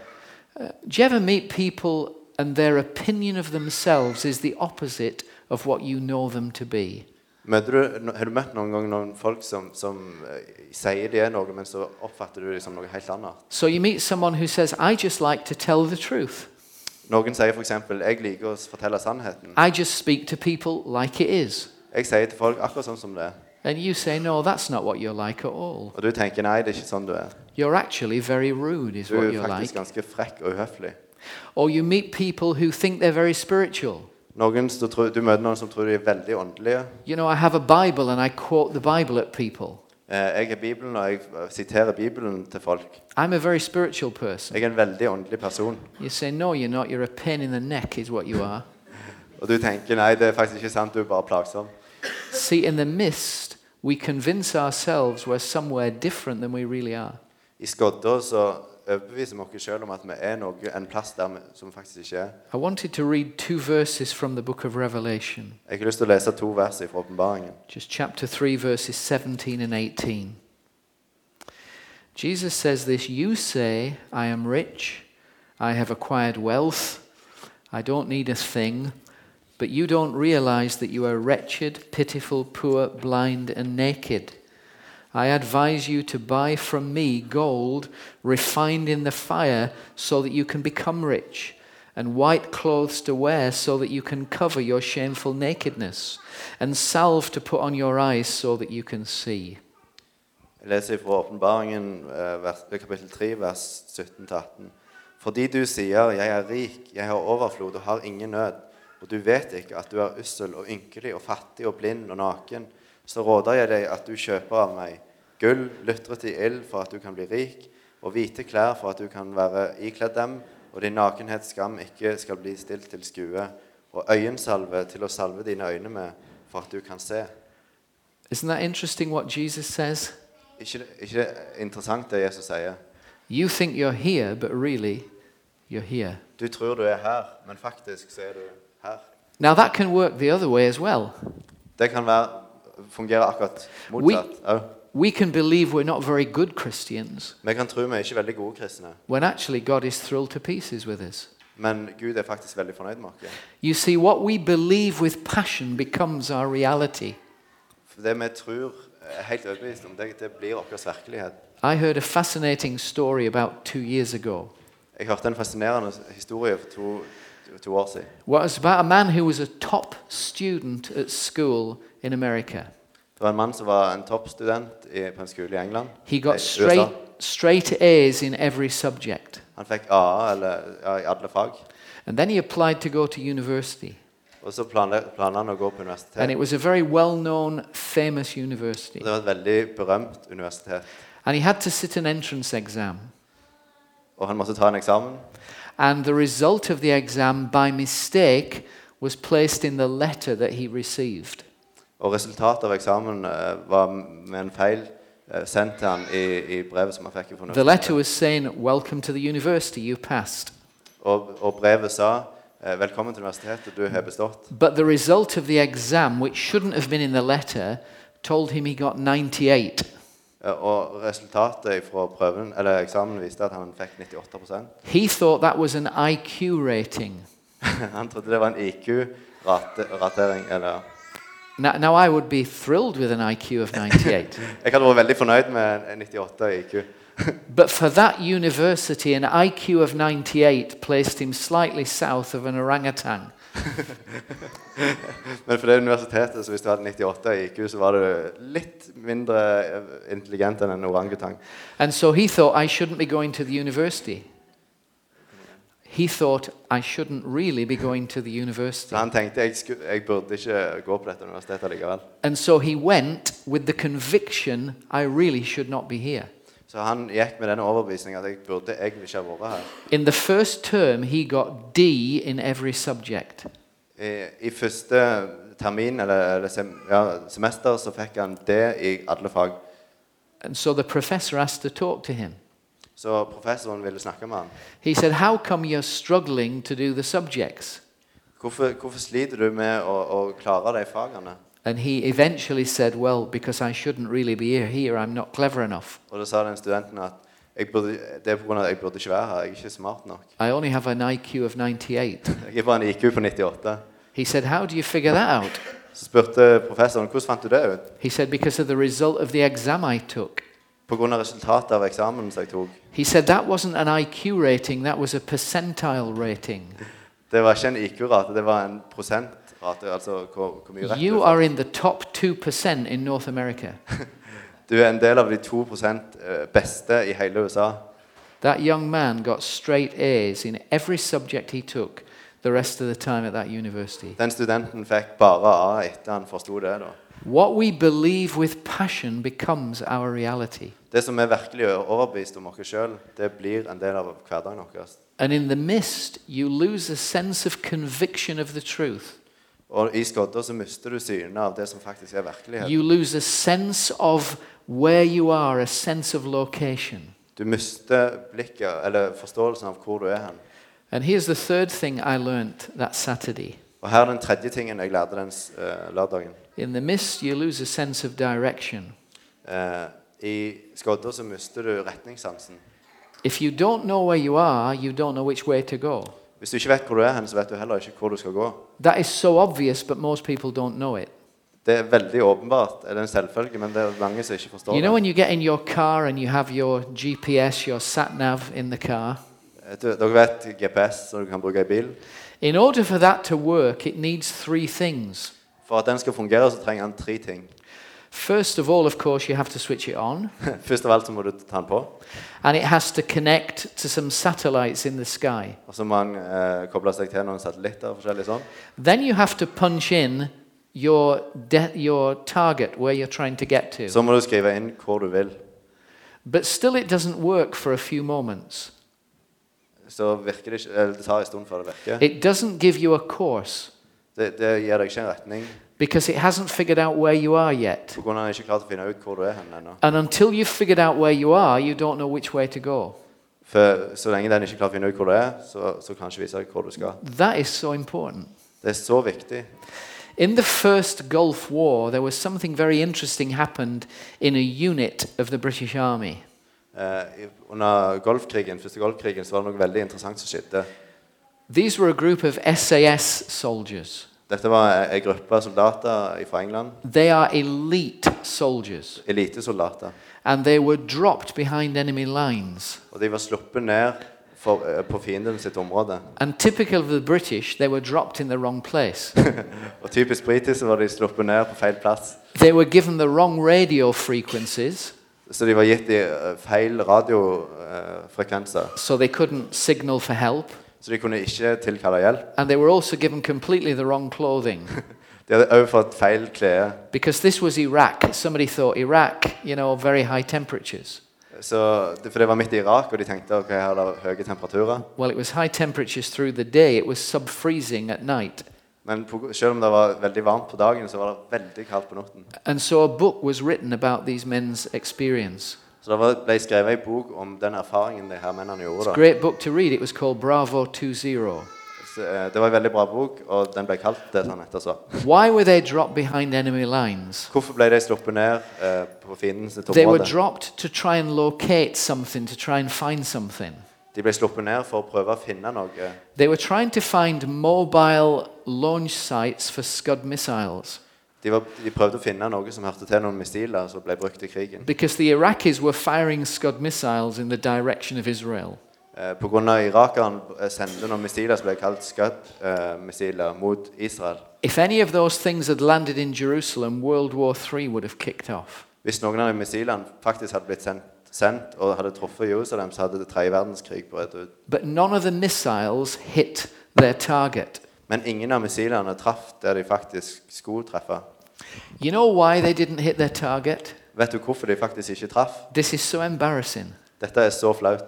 Speaker 1: Do you ever meet people and their opinion of themselves is the opposite of what you know them to be?
Speaker 2: Møter du, no- har du møtt noen gang noen folk som, som eh, sier de er noe, men så oppfatter du det som noe helt annet?
Speaker 1: So you meet someone who says, I just like to tell the truth.
Speaker 2: Noen sier f.eks.: 'Jeg liker å s- fortelle sannheten'.
Speaker 1: I just speak to people like it is.
Speaker 2: Jeg sier til folk akkurat sånn som det er.
Speaker 1: And you say, No, that's not what you're like at all.
Speaker 2: Og du tenker 'nei, det er ikke sånn du er'.
Speaker 1: You're actually very rude, is
Speaker 2: Du
Speaker 1: what
Speaker 2: er
Speaker 1: you're like.
Speaker 2: faktisk ganske frekk og uhøflig.
Speaker 1: Or you meet people who think they're very spiritual.
Speaker 2: Noen som tror, du møter noen som tror de er veldig åndelige.
Speaker 1: You know, I have a Bible and I quote the Bible at people.
Speaker 2: Eh, Jeg er Bibelen, og jeg eh, siterer Bibelen til folk.
Speaker 1: I'm a very spiritual person.
Speaker 2: Jeg er en veldig åndelig person.
Speaker 1: You say, No, you're not. You're a pain in the neck, is what you are.
Speaker 2: Og du tenker 'nei, det er faktisk ikke sant, du er bare plagsom'.
Speaker 1: See, in the mist, we convince ourselves we're somewhere different than we really are.
Speaker 2: I skodda så overbeviser vi oss sjøl om at vi er noe, en plass der vi, som vi faktisk ikke er.
Speaker 1: I wanted to read two verses from the book of Revelation,
Speaker 2: Jeg har lyst til å lese to vers fra åpenbaringen.
Speaker 1: just chapter 3, verses 17 and 18. Jesus says this You say, I am rich, I have acquired wealth, I don't need a thing, but you don't realize that you are wretched, pitiful, poor, blind, and naked. I advise you to buy from me gold refined in the fire so that you can become rich, and white clothes to wear so that you can cover your shameful nakedness, and salve to put on your eyes so that you can see.
Speaker 2: Jeg leser fra åpenbaringen, eh, vers- kapittel 3, vers 17-18. Fordi du sier, jeg er rik, jeg har overflod og har ingen nød, og du vet ikke at du er ussel og ynkelig og fattig og blind og naken, så råder jeg deg at du kjøper av meg gull, lytret i ild for at du kan bli rik, og hvite klær for at du kan være ikledd dem, og din nakenhets skam ikke skal bli stilt til skue, og øyensalve til å salve dine øyne med for at du kan se.
Speaker 1: Isn't that interesting what Jesus says?
Speaker 2: Ikke, ikke interessant det Jesus sier.
Speaker 1: You think you're here, but really, you're here.
Speaker 2: Du tror du er her, men faktisk så er du her.
Speaker 1: Now, that can work the other way as well.
Speaker 2: Det kan være, fungere akkurat motsatt. Au.
Speaker 1: We can believe we're not very good Christians
Speaker 2: Vi kan tro vi er ikke veldig gode kristne,
Speaker 1: when actually God is thrilled to pieces with us.
Speaker 2: men Gud er faktisk veldig fornøyd med oss.
Speaker 1: You see, what we believe with passion becomes our reality.
Speaker 2: For det vi tror, er helt overbevist om, det, det blir vår virkelighet.
Speaker 1: I heard a fascinating story about two years ago.
Speaker 2: Jeg hørte en fascinerende historie for to, to år siden.
Speaker 1: Well, it's about a man who was a top student at school in America.
Speaker 2: Det var en mann som var en toppstudent i- på en skole i England.
Speaker 1: He
Speaker 2: Nei,
Speaker 1: got
Speaker 2: USA.
Speaker 1: straight, straight A's in every subject.
Speaker 2: Han fikk AA eller, ja, i alle fag.
Speaker 1: And then he applied to go to university.
Speaker 2: Og så planla planla han å gå på
Speaker 1: And
Speaker 2: universitet.
Speaker 1: it was a very well known, famous university.
Speaker 2: Og Det var et veldig berømt universitet.
Speaker 1: And he had to sit an entrance exam.
Speaker 2: Og han måtte ta en eksamen.
Speaker 1: And the result of the exam, by mistake, was placed in the letter that he received.
Speaker 2: Og resultatet av eksamen eh, var med en feil eh, sendt til han i, i brevet som han fikk fra
Speaker 1: The letter
Speaker 2: universitetet.
Speaker 1: was saying, Welcome to the university, you passed.
Speaker 2: Og, og brevet sa eh, velkommen til universitetet, du har bestått.
Speaker 1: But the result of the exam, which shouldn't have been in the letter, told him he got 98.
Speaker 2: Eh, Og resultatet fra prøven, eller eksamen viste at han fikk 98
Speaker 1: He thought that was an IQ rating.
Speaker 2: (laughs) Han trodde det var en IQ-ratering. Eller
Speaker 1: Now, now I would be thrilled with an IQ of 98.
Speaker 2: Jeg hadde vært veldig fornøyd med en 98 IQ.
Speaker 1: but for that university, an IQ of 98 placed him slightly south of an orangutan.
Speaker 2: Men for det universitetet, så hvis du hadde 98 IQ, så var du litt mindre eh, intelligent enn en orangutang.
Speaker 1: And so he thought, I shouldn't be going to the university. He thought, I shouldn't really be going to the university.
Speaker 2: Så han tenkte jeg, sku, jeg burde ikke gå på dette universitetet likevel.
Speaker 1: And so he went with the conviction, I really should not be here.
Speaker 2: Så han gikk med denne overbevisningen at jeg burde egentlig ikke ha vært her.
Speaker 1: In the first term, he got D in every subject.
Speaker 2: I, i første termin, eller, eller sem, ja, semester, så fikk han det i alle fag.
Speaker 1: And so the professor asked to talk to him.
Speaker 2: Så professoren ville snakke med han.
Speaker 1: He said, How come you're struggling to do the subjects?
Speaker 2: Hvorfor, hvorfor sliter du med å, å klare de fagene?
Speaker 1: And he eventually said, Well, because I shouldn't really be here, here I'm not clever enough.
Speaker 2: Og da sa den studenten at jeg burde, det er på grunn av at jeg burde ikke være her, jeg er ikke smart nok.
Speaker 1: I only have an IQ of 98.
Speaker 2: Jeg er bare en IQ på 98.
Speaker 1: He said, How do you figure that out?
Speaker 2: Så spurte professoren hvordan fant du det ut.
Speaker 1: He said, Because of the result of the exam I took.
Speaker 2: Pga. resultatet av eksamen som jeg tok.
Speaker 1: He said, That wasn't an IQ rating, that was a percentile rating.
Speaker 2: Det var ikke en IQ-rate, det var en prosentrate. Altså hvor, hvor mye rett du
Speaker 1: You
Speaker 2: får.
Speaker 1: are in the top 2% in North America.
Speaker 2: Du er en del av de 2 eh, beste i hele USA.
Speaker 1: That young man got straight A's in every subject he took the rest of the time at that university.
Speaker 2: Den studenten fikk bare A etter han forsto det. da.
Speaker 1: What we believe with passion becomes our reality.
Speaker 2: Det som er virkelig overbevist om oss sjøl, det blir en del av hverdagen vår.
Speaker 1: And in the mist, you lose a sense of conviction of the truth.
Speaker 2: Og i skodda så mister du synet av det som faktisk er virkelighet.
Speaker 1: You lose a sense of where you are, a sense of location.
Speaker 2: Du mister blikket, eller forståelsen av hvor du er hen.
Speaker 1: And here's the third thing I learnt that Saturday.
Speaker 2: Og her er den tredje tingen jeg lærte den s- eh, lørdagen.
Speaker 1: In the mist, you lose a sense of direction.
Speaker 2: Eh, I skodda så mister du retningssansen.
Speaker 1: If you don't know where you are, you don't know which way to go.
Speaker 2: Hvis du ikke vet hvor du er hen, så vet du heller ikke hvor du skal gå.
Speaker 1: That is so obvious, but most people don't know it.
Speaker 2: Det er veldig åpenbart, det er en selvfølge, men det er mange som ikke forstår
Speaker 1: You know,
Speaker 2: det.
Speaker 1: when you get in your car and you have your GPS, your sat nav in the car,
Speaker 2: Eh, Du, dere vet GPS, som du kan bruke i bil.
Speaker 1: in order for that to work, it needs three things.
Speaker 2: For at den skal fungere, så trenger han tre ting. (laughs)
Speaker 1: First of all, of course, you have to switch it on,
Speaker 2: Først av alt så må du ta den på,
Speaker 1: and it has to connect to some satellites in the sky.
Speaker 2: og så må han eh, koble seg til noen satellitter og forskjellig sånn.
Speaker 1: Then you have to punch in your, de- your target, where you're trying to get to.
Speaker 2: Så må du skrive inn hvor du vil.
Speaker 1: but still, it doesn't work for a few moments.
Speaker 2: Så virker det ikke Eller det tar en stund før det virker.
Speaker 1: It doesn't give you a course
Speaker 2: Det, det gir deg ikke en retning
Speaker 1: because it hasn't figured out where you are yet.
Speaker 2: pga. at han ikke klart å finne ut hvor du er hen ennå.
Speaker 1: And until you've figured out where you are, you don't know which way to go.
Speaker 2: For så lenge den ikke klarer å finne ut hvor du er, så, så kan han ikke vise deg hvor du skal.
Speaker 1: That is so important.
Speaker 2: Det er så viktig.
Speaker 1: In the first Gulf War, there was something very interesting happened in a unit of the British Army.
Speaker 2: Eh, i- under golfkrigen, første golfkrigen så var det noe veldig interessant som skjedde.
Speaker 1: These were a group of SAS soldiers.
Speaker 2: Dette var ei gruppe soldater fra England.
Speaker 1: They are elite soldiers,
Speaker 2: Elitesoldater.
Speaker 1: and they were dropped behind enemy lines.
Speaker 2: Og de var sluppet ned for, eh, på fienden sitt område.
Speaker 1: And typical of the British, they were dropped in the wrong place. (laughs)
Speaker 2: Og typisk britisk så var de sluppet ned på feil plass.
Speaker 1: they were given the wrong radio frequencies,
Speaker 2: Så de var gitt i eh, feil radiofrekvenser.
Speaker 1: so they couldn't signal for help.
Speaker 2: Så de kunne ikke tilkalle hjelp.
Speaker 1: And they were also given completely the wrong clothing
Speaker 2: De hadde også fått feil klær.
Speaker 1: because this was Iraq. Somebody thought Iraq, you know, very high temperatures.
Speaker 2: Så, det- for det var midt i Irak, og de tenkte ok, her er det høye temperaturer.
Speaker 1: Well, it was high temperatures through the day, it was sub freezing at night.
Speaker 2: Men på, selv om det var veldig varmt på dagen, så var det veldig kaldt på natten.
Speaker 1: And so a book was written about these men's experience.
Speaker 2: Så det var, ble skrevet en bok om den erfaringen de her mennene
Speaker 1: It's a
Speaker 2: gjorde. Da.
Speaker 1: great book to read. It was called Bravo 20.
Speaker 2: Så, eh, det var en veldig bra bok, og den ble kalt det sånn etter så.
Speaker 1: Why were they dropped behind enemy lines?
Speaker 2: Hvorfor ble de sluppet ned eh, på fiendens
Speaker 1: They were
Speaker 2: område?
Speaker 1: dropped to try and locate something, to try and find something.
Speaker 2: De ble sluppet ned for å prøve å finne noe.
Speaker 1: They were trying to find mobile launch sites for Scud missiles.
Speaker 2: De, var, de prøvde å finne noe som hørte til noen missiler som ble brukt i krigen.
Speaker 1: Because the Iraqis were firing Scud missiles in the direction of Israel.
Speaker 2: Eh, på grunn av Irakeren eh, sendte noen missiler som ble kalt Scud-missiler mot Israel.
Speaker 1: If any of those things had landed in Jerusalem, World War III would have kicked off.
Speaker 2: Hvis noen av de missilene faktisk hadde blitt sendt, sendt og hadde truffet Jerusalem, så hadde det tredje verdenskrig brutt ut.
Speaker 1: But none of the missiles hit their target.
Speaker 2: Men ingen av missilene traff der de faktisk skulle treffe.
Speaker 1: You know why they didn't hit their target?
Speaker 2: Vet du hvorfor de faktisk ikke traff?
Speaker 1: This is so embarrassing.
Speaker 2: Dette er så flaut.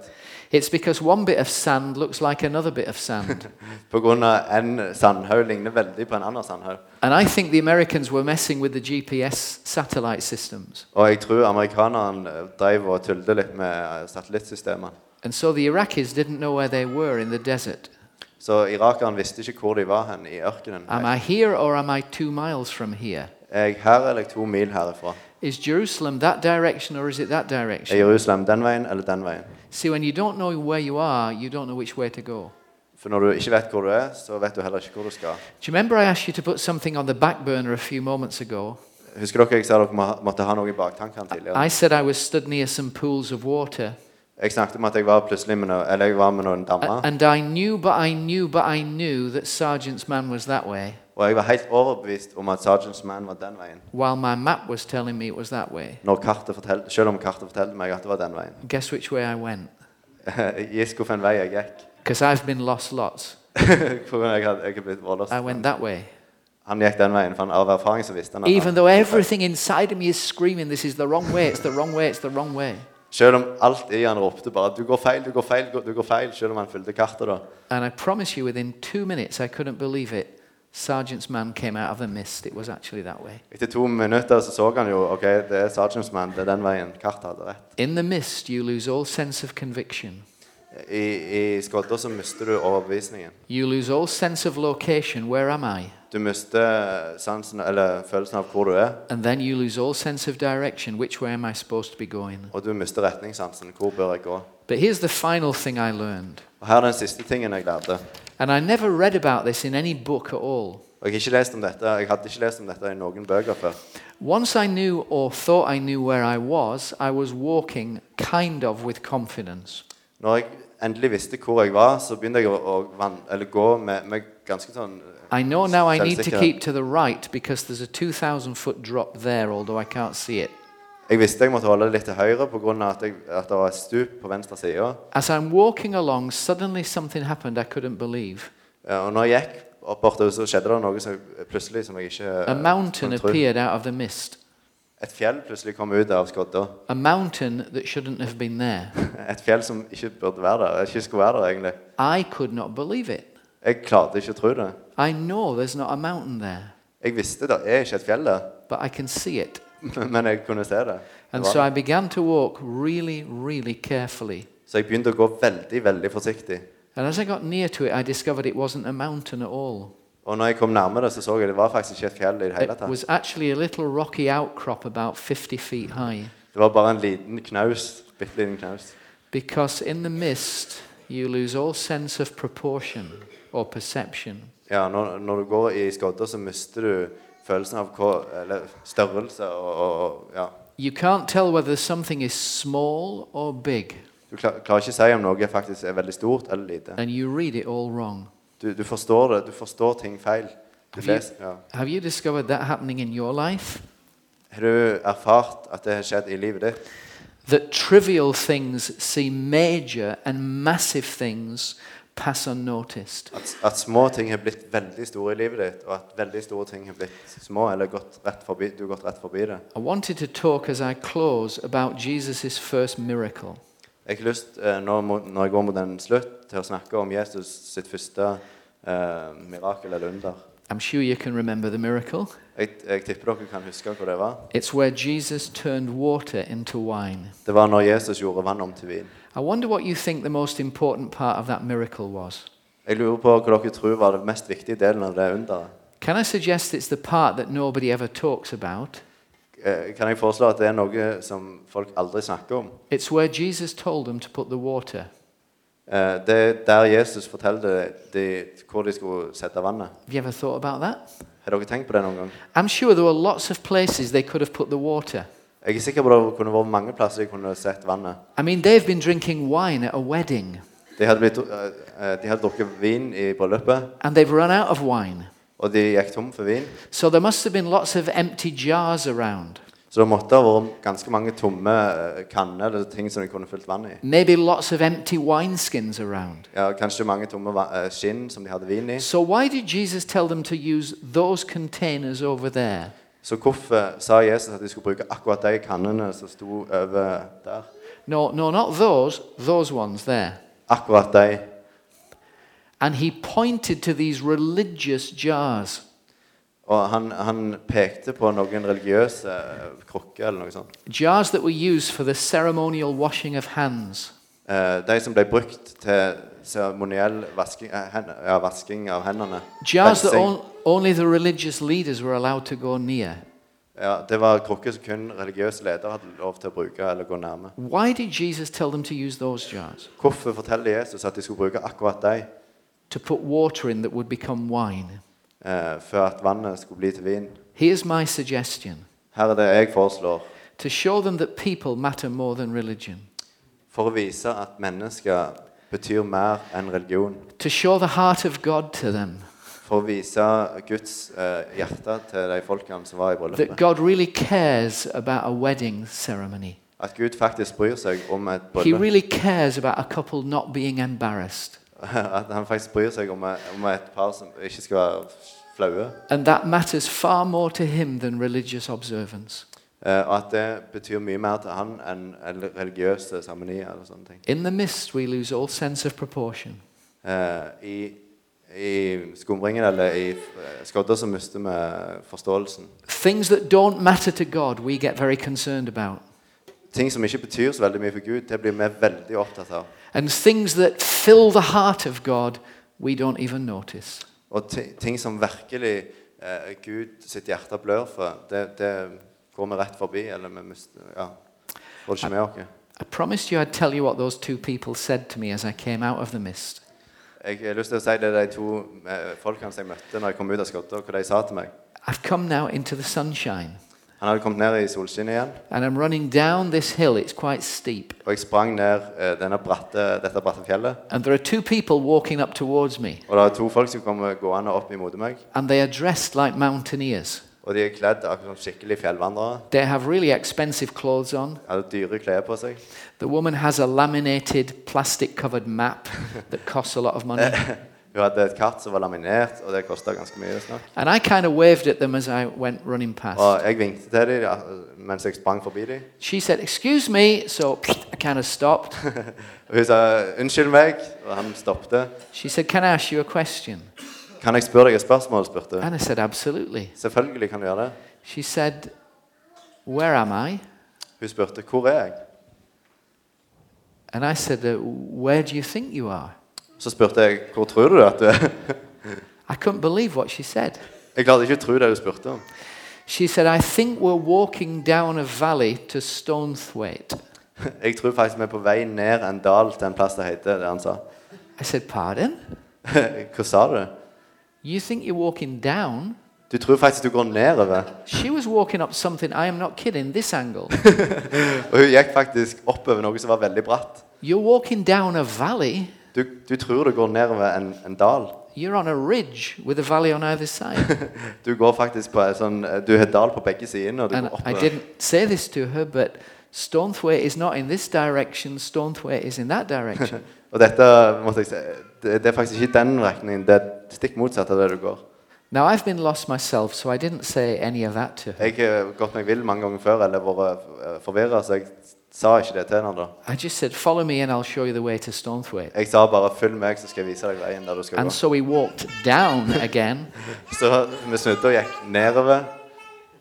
Speaker 1: It's because one bit of sand looks like another bit of sand.
Speaker 2: På grunn av en sandhaug ligner veldig på en annen sandhaug.
Speaker 1: and I think the Americans were messing with the GPS satellite systems.
Speaker 2: Og jeg tror amerikanerne eh, drev og tullet litt med eh, satellittsystemene.
Speaker 1: And so the Iraqis didn't know where they were in the desert.
Speaker 2: Så irakerne visste ikke hvor de var hen i ørkenen.
Speaker 1: Am I here or am I two miles from here?
Speaker 2: Jeg her eller to mil herifra.
Speaker 1: Is Jerusalem that direction or is it that
Speaker 2: Er
Speaker 1: direction?
Speaker 2: Jerusalem den veien eller den veien?
Speaker 1: See, when you don't know where you are, you don't know which way to go.
Speaker 2: For når du ikke vet hvor du er, så vet du heller ikke hvor du skal.
Speaker 1: Do you remember I asked you to put something on the back burner a few moments ago?
Speaker 2: Husker dere jeg sa dere må- måtte ha noe i baktankene tidligere?
Speaker 1: I said I was stood near some pools of water.
Speaker 2: Jeg snakket om at jeg var plutselig med noen, eller jeg var med noen
Speaker 1: A-
Speaker 2: damer,
Speaker 1: And I knew, but I knew, but I knew that Sergeant's man was that way,
Speaker 2: og jeg var helt overbevist om at Sergeants Man var den veien.
Speaker 1: while my map was telling me it was that way.
Speaker 2: Når kartet fortell, selv om kartet fortalte meg at det var den veien. (laughs)
Speaker 1: Guess which way I went?
Speaker 2: Gis hvilken vei jeg gikk. (laughs)
Speaker 1: Because I've been lost lots.
Speaker 2: For jeg hadde, jeg hadde blitt voldelig.
Speaker 1: I went that way.
Speaker 2: Han gikk den veien, for han, av erfaring så visste han at
Speaker 1: Even
Speaker 2: han-
Speaker 1: though everything inside of me is screaming, this is the wrong way, it's the wrong way, it's the wrong way.
Speaker 2: Selv om alt i han ropte bare 'du går feil, du går feil', du går feil, selv om han fulgte kartet, da.
Speaker 1: And I promise you, within two minutes, I couldn't believe it. Sergeant's man came out of the mist. It was actually that way.
Speaker 2: Etter to minutter så så han jo 'OK, det er Sergeants Man, det er den veien'. Kartet hadde rett.
Speaker 1: In the mist, you lose all sense of conviction.
Speaker 2: I, i skodda så mister du overbevisningen.
Speaker 1: You lose all sense of location. Where am I?
Speaker 2: Du mister sansen, eller følelsen av hvor du er,
Speaker 1: And then you lose all sense of direction. Which way am I supposed to be going?
Speaker 2: og du mister retningssansen. Hvor bør jeg gå?
Speaker 1: But here's the final thing I learned.
Speaker 2: Og Her er den siste tingen jeg lærte.
Speaker 1: And I never read about this in any book at all.
Speaker 2: Og jeg, har ikke lest om dette. jeg hadde ikke lest om dette i noen bøker før.
Speaker 1: Once I knew or thought I knew where I was, I was walking kind of with confidence.
Speaker 2: Når jeg endelig visste hvor jeg var, så begynte jeg å, å van, eller gå med, med ganske sånn
Speaker 1: I know now I need to
Speaker 2: Selvsikker.
Speaker 1: keep to the right because there's a 2,000 foot drop there, although I can't see it.
Speaker 2: Jeg visste jeg måtte holde litt til høyre pga. At, jeg- at det var et stup på venstre side.
Speaker 1: As I'm walking along, suddenly something happened I couldn't believe.
Speaker 2: Eh, Og når jeg gikk opp bortover, så skjedde det noe som jeg, plutselig som jeg ikke eh,
Speaker 1: A mountain
Speaker 2: kunne tro.
Speaker 1: appeared out of the mist,
Speaker 2: Et fjell plutselig kom ut av skodda.
Speaker 1: a mountain that shouldn't have been there.
Speaker 2: (laughs) Et fjell som ikke burde være der. Ikke skulle være der, egentlig.
Speaker 1: I could not believe it.
Speaker 2: Jeg klarte ikke å tro det.
Speaker 1: I know there's not a mountain there,
Speaker 2: Jeg visste det er ikke et fjell der, (laughs)
Speaker 1: but I can see it.
Speaker 2: men jeg kunne se det. det
Speaker 1: And
Speaker 2: var.
Speaker 1: so I began to walk really, really carefully.
Speaker 2: Så jeg begynte å gå veldig, veldig forsiktig.
Speaker 1: And as I got near to it, I discovered it wasn't a mountain at all.
Speaker 2: Og når jeg kom nærme det, så så jeg det var faktisk ikke et fjell i det hele
Speaker 1: It
Speaker 2: tatt.
Speaker 1: was actually a little rocky outcrop about 50 feet high.
Speaker 2: Det var bare en liten knaus. Bitte liten knaus.
Speaker 1: Because in the mist, you lose all sense of proportion or perception.
Speaker 2: Ja, når, når du går i skodda, så mister du følelsen av hva, eller størrelse og, og, og ja.
Speaker 1: You can't tell whether something is small or big,
Speaker 2: Du klar, klarer ikke å si om noe faktisk er veldig stort eller lite.
Speaker 1: and you read it all wrong.
Speaker 2: Du, du forstår det. Du forstår ting feil. Du
Speaker 1: Har vi-
Speaker 2: leser, ja.
Speaker 1: Have you discovered that happening in your life?
Speaker 2: Har du erfart at det har skjedd i livet ditt?
Speaker 1: That trivial things seem major and massive things pass unnoticed.
Speaker 2: At, at små ting har blitt veldig store i livet ditt, og at veldig store ting har blitt små, eller gått rett forbi, du har gått rett forbi det.
Speaker 1: I wanted to talk as I close about Jesus' first miracle.
Speaker 2: Jeg har lyst, eh, når, mo- når jeg går mot en slutt, til å snakke om Jesus sitt første eh, mirakel eller under.
Speaker 1: I'm sure you can remember the miracle.
Speaker 2: Jeg, jeg tipper dere kan huske hva det var.
Speaker 1: It's where Jesus turned water into wine.
Speaker 2: Det var når Jesus gjorde vann om til vin.
Speaker 1: I wonder what you think the most important part of that miracle was.
Speaker 2: Jeg lurer på hva dere tror var den mest viktige delen av det underet.
Speaker 1: Can I suggest it's the part that nobody ever talks about?
Speaker 2: Eh, Kan jeg foreslå at det er noe som folk aldri snakker om?
Speaker 1: It's where Jesus told them to put the water.
Speaker 2: Eh, Det er der Jesus forteller de, de, hvor de skulle sette vannet.
Speaker 1: Have you ever thought about that?
Speaker 2: Har dere tenkt på det noen gang?
Speaker 1: I'm sure there were lots of places they could have put the water.
Speaker 2: Jeg er sikker på det kunne vært mange plasser de kunne sett vannet.
Speaker 1: I mean, they've been drinking wine at a wedding
Speaker 2: De hadde, blitt, eh, eh, de hadde drukket vin i bryllupet,
Speaker 1: and they've run out of wine.
Speaker 2: og de gikk tom for vin.
Speaker 1: So there must have been lots of empty jars around.
Speaker 2: Så det måtte ha vært ganske mange tomme eh, kanner eller ting som de kunne fylt vann i.
Speaker 1: Maybe lots of empty wineskins around.
Speaker 2: Ja, kanskje mange tomme va- eh, skinn som de hadde vin i.
Speaker 1: So why did Jesus tell them to use those containers over there?
Speaker 2: Så hvorfor sa Jesus at de skulle bruke akkurat de kannene som sto over der?
Speaker 1: No, no, not those, those ones there.
Speaker 2: Akkurat de.
Speaker 1: And he pointed to these religious jars.
Speaker 2: Og han, han pekte på noen religiøse eh, krukker eller noe sånt.
Speaker 1: Jars that were used for the ceremonial washing of hands.
Speaker 2: Eh, de som ble brukt til seremoniell vasking, eh, hen- ja, vasking av hendene.
Speaker 1: Jars that
Speaker 2: Rensing.
Speaker 1: on, only the religious leaders were allowed to go near.
Speaker 2: Ja, det var krukker som kun religiøse ledere hadde lov til å bruke eller gå nærme.
Speaker 1: Why did Jesus tell them to use those jars?
Speaker 2: Hvorfor forteller Jesus at de skulle bruke akkurat de?
Speaker 1: to put water in that would become wine.
Speaker 2: eh, før at vannet skulle bli til vin.
Speaker 1: Here's my suggestion
Speaker 2: Her er det jeg foreslår.
Speaker 1: to show them that people matter more than religion,
Speaker 2: For å vise at mennesker betyr mer enn religion.
Speaker 1: to show the heart of God to them,
Speaker 2: For å vise Guds eh, hjerte til de folkene som var i
Speaker 1: that
Speaker 2: bryllupet.
Speaker 1: God really cares about a wedding ceremony.
Speaker 2: At Gud faktisk bryr seg om et
Speaker 1: He
Speaker 2: bryllup.
Speaker 1: really cares about a couple not being embarrassed.
Speaker 2: (laughs) At han faktisk bryr seg om et, om et par som ikke skal være flaue.
Speaker 1: And that matters far more to him than religious observance.
Speaker 2: Eh, og at det betyr mye mer til han enn enn religiøse seremonier eller sånne ting.
Speaker 1: In the mist, we lose all sense of proportion.
Speaker 2: Eh, I i skumringen eller i eh, skodder så mister vi forståelsen.
Speaker 1: Things that don't matter to God, we get very concerned about.
Speaker 2: Ting som ikke betyr så veldig mye for Gud, det blir vi veldig opptatt av.
Speaker 1: And things that fill the heart of God, we don't even notice.
Speaker 2: Og ti- ting som virkelig eh, Gud sitt hjerte blør for, det, det går vi rett forbi, eller vi mister, ja, får det ikke med oss.
Speaker 1: I promised you I'd tell you what those two people said to me as I came out of the mist.
Speaker 2: Jeg har lyst til å si det de to eh, folkene som jeg møtte når jeg kom ut av skodder, hva de sa til meg.
Speaker 1: I've come now into the sunshine,
Speaker 2: Han hadde kommet ned i solskinnet igjen,
Speaker 1: and I'm running down this hill. It's quite steep.
Speaker 2: og jeg sprang ned eh, denne bratte, dette bratte fjellet.
Speaker 1: And there are two people walking up towards me,
Speaker 2: Og det var to folk som kom eh, gående opp imot meg,
Speaker 1: and they are dressed like mountaineers.
Speaker 2: og de er kledd akkurat som skikkelig fjellvandrere.
Speaker 1: They have really expensive clothes on.
Speaker 2: Hadde dyre klær på seg.
Speaker 1: The woman has a laminated, plastic covered map that costs a lot of money.
Speaker 2: Hun hadde et kart som var laminert, og det kosta ganske mye. Snakk.
Speaker 1: And I kind of waved at them as I went running past.
Speaker 2: Og jeg vinket til dem ja, mens jeg sprang forbi dem.
Speaker 1: She said, Excuse me. So I kind of stopped.
Speaker 2: Og hun sa 'unnskyld meg', og han stoppet.
Speaker 1: She said, Can I ask you a question?
Speaker 2: 'Kan jeg spørre deg et spørsmål?' spurte hun.
Speaker 1: And I said, Absolutely.
Speaker 2: Selvfølgelig kan du gjøre det.
Speaker 1: She said, Where am I?
Speaker 2: Hun spurte 'hvor er jeg?'
Speaker 1: And I said, uh, Where do you think you are?
Speaker 2: Så spurte jeg 'hvor tror du at du er?' (laughs)
Speaker 1: I couldn't believe what she said.
Speaker 2: Jeg klarte ikke å tro det hun spurte om. (laughs)
Speaker 1: She said, I think we're walking down a valley to Stonethwaite.
Speaker 2: Jeg tror faktisk vi er på vei ned en dal til en plass som heter det han sa. (laughs)
Speaker 1: I said, Pardon?
Speaker 2: Hva sa du?
Speaker 1: You think you're walking down?
Speaker 2: Du tror faktisk du går nedover.
Speaker 1: She was walking up something, I am not kidding, this angle.
Speaker 2: Og hun gikk faktisk oppover noe som var veldig bratt.
Speaker 1: You're walking down a valley,
Speaker 2: Du, du tror du går nedover en, en dal.
Speaker 1: you're on a ridge with a valley on either side.
Speaker 2: Du går faktisk på en sånn Du har dal på begge sidene, og du
Speaker 1: and
Speaker 2: går
Speaker 1: I
Speaker 2: oppover.
Speaker 1: didn't say this to her, but Stonethwaite is not in this direction, Stonethwaite is in that direction.
Speaker 2: Og dette måtte jeg si Det det er faktisk ikke den retningen. Det er stikk motsatt av det du går.
Speaker 1: now, I've been lost myself, so I didn't say any of that to her.
Speaker 2: Jeg har gått meg vill mange ganger før eller vært forvirra, så jeg sa ikke det til henne da.
Speaker 1: I just said, Follow me and I'll show you the way to Stonethwaite.
Speaker 2: Jeg sa bare 'følg meg, så skal jeg vise deg veien der du skal
Speaker 1: And
Speaker 2: gå'.
Speaker 1: so we walked down again,
Speaker 2: Så vi snudde og gikk nedover,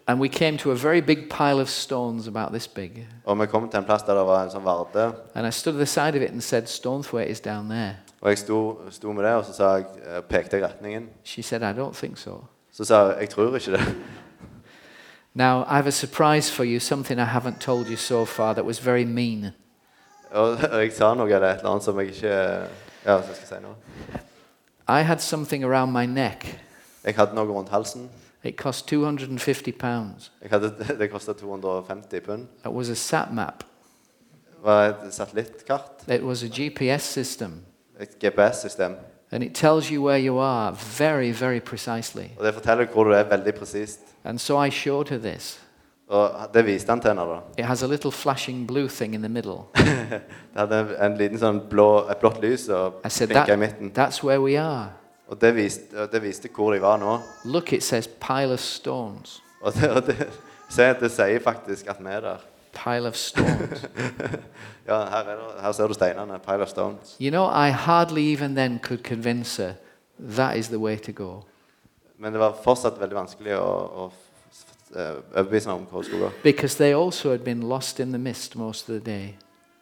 Speaker 1: and we came to a very big pile of stones about this big.
Speaker 2: og vi kom til en plass der det var en sånn varde.
Speaker 1: And I stood at the side of it and said, Stonethwaite is down there.
Speaker 2: Og jeg sto, sto med det, og så sa jeg, eh, pekte jeg retningen.
Speaker 1: She said, I don't think so.
Speaker 2: Så sa jeg 'jeg tror ikke det'. (laughs)
Speaker 1: Now, I have a surprise for you, something I haven't told you so far that was very mean.
Speaker 2: Og, og jeg sa noe eller et eller annet som jeg ikke Ja, som jeg skal si nå.
Speaker 1: I had something around my neck.
Speaker 2: Jeg hadde noe rundt halsen.
Speaker 1: It cost 250 pounds.
Speaker 2: Jeg hadde, (laughs) det kosta 250 pund.
Speaker 1: It was a sat map.
Speaker 2: Det var et satellittkart.
Speaker 1: It was a GPS system.
Speaker 2: Et GPS-system.
Speaker 1: And it tells you where you are very, very precisely.
Speaker 2: Og det forteller hvor du er veldig presist.
Speaker 1: And so I showed her this.
Speaker 2: Og det viste han til henne, da.
Speaker 1: It has a little flashing blue thing in the middle.
Speaker 2: Det hadde en liten sånn blå, et blått lys og
Speaker 1: I said,
Speaker 2: blinka i midten.
Speaker 1: that, That's where we are.
Speaker 2: Og det viste, og det viste hvor de var nå.
Speaker 1: Look, it says pile of stones.
Speaker 2: Og det, og det, (laughs) se, det sier faktisk at vi er der.
Speaker 1: Pile of stones.
Speaker 2: Ja, her, er det, her ser du steinene. Pile of stones.
Speaker 1: you know, I hardly even then could convince her that is the way to go.
Speaker 2: Men det var fortsatt veldig vanskelig å, å f- f- eh, overbevise meg om hvor hun skulle gå.
Speaker 1: Because they also had been lost in the mist most of the day.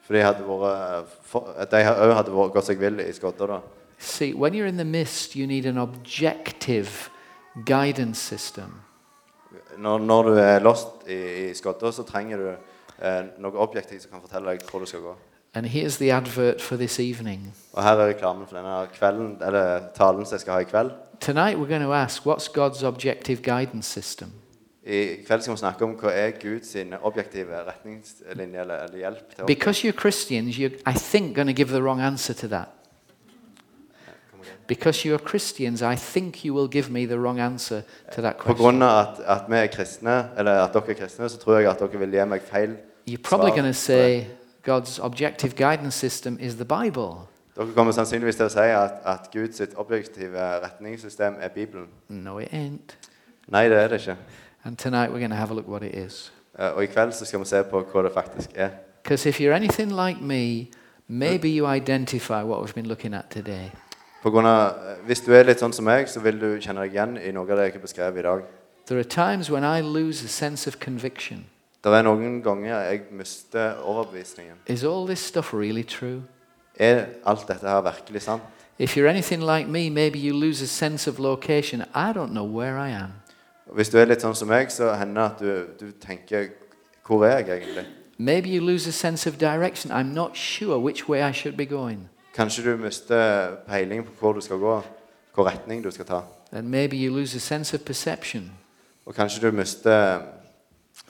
Speaker 2: For de hadde vært eh, for, De òg hadde vært, gått seg vill i skodder, da.
Speaker 1: See, when you're in the mist, you need an objective guidance system.
Speaker 2: Når, når du er lost i, i skodder, så trenger du eh, noe objektivt som kan fortelle deg hvor du skal gå.
Speaker 1: And here's the advert for this evening.
Speaker 2: Og her er reklamen for denne kvelden, eller talen som jeg skal ha i kveld.
Speaker 1: Tonight, we're going to ask what's God's objective guidance system?
Speaker 2: I kveld skal vi snakke om hva er Guds sine objektive retningslinjer eller, eller hjelp til oss.
Speaker 1: Because you're Christians, you're, I think, going to give the wrong answer to that. Because you're Christians, I think you will give me the wrong answer to that
Speaker 2: På
Speaker 1: question.
Speaker 2: grunn av at, at vi er kristne, eller at dere er kristne, så tror jeg at dere vil gi meg feil.
Speaker 1: You're probably
Speaker 2: svar.
Speaker 1: going to say God's objective guidance system is the Bible.
Speaker 2: Dere kommer sannsynligvis til å si at, at Guds sitt objektive retningssystem er Bibelen.
Speaker 1: No, it ain't.
Speaker 2: Nei, det er det ikke.
Speaker 1: And tonight we're going to have a look what it is.
Speaker 2: Eh, Og i kveld så skal vi se på hva det faktisk er.
Speaker 1: Because if you're anything like me, maybe you identify what we've been looking at today.
Speaker 2: På grunn av, eh, hvis du er litt sånn som meg, så vil du kjenne deg igjen i noe av det jeg har beskrevet i dag.
Speaker 1: There are times when I lose a sense of conviction.
Speaker 2: Det er noen ganger jeg mister overbevisningen.
Speaker 1: Is all this stuff really true?
Speaker 2: Er alt dette her virkelig sant?
Speaker 1: If you're anything like me, maybe you lose a sense of location. I don't know where I am.
Speaker 2: Og Hvis du er litt sånn som meg, så hender det at du, du tenker Hvor er jeg egentlig?
Speaker 1: Maybe you lose a sense of direction. I'm not sure which way I should be going.
Speaker 2: Kanskje du mister peiling på hvor du skal gå, hvor retning du skal ta.
Speaker 1: And maybe you lose a sense of perception.
Speaker 2: Og kanskje du mister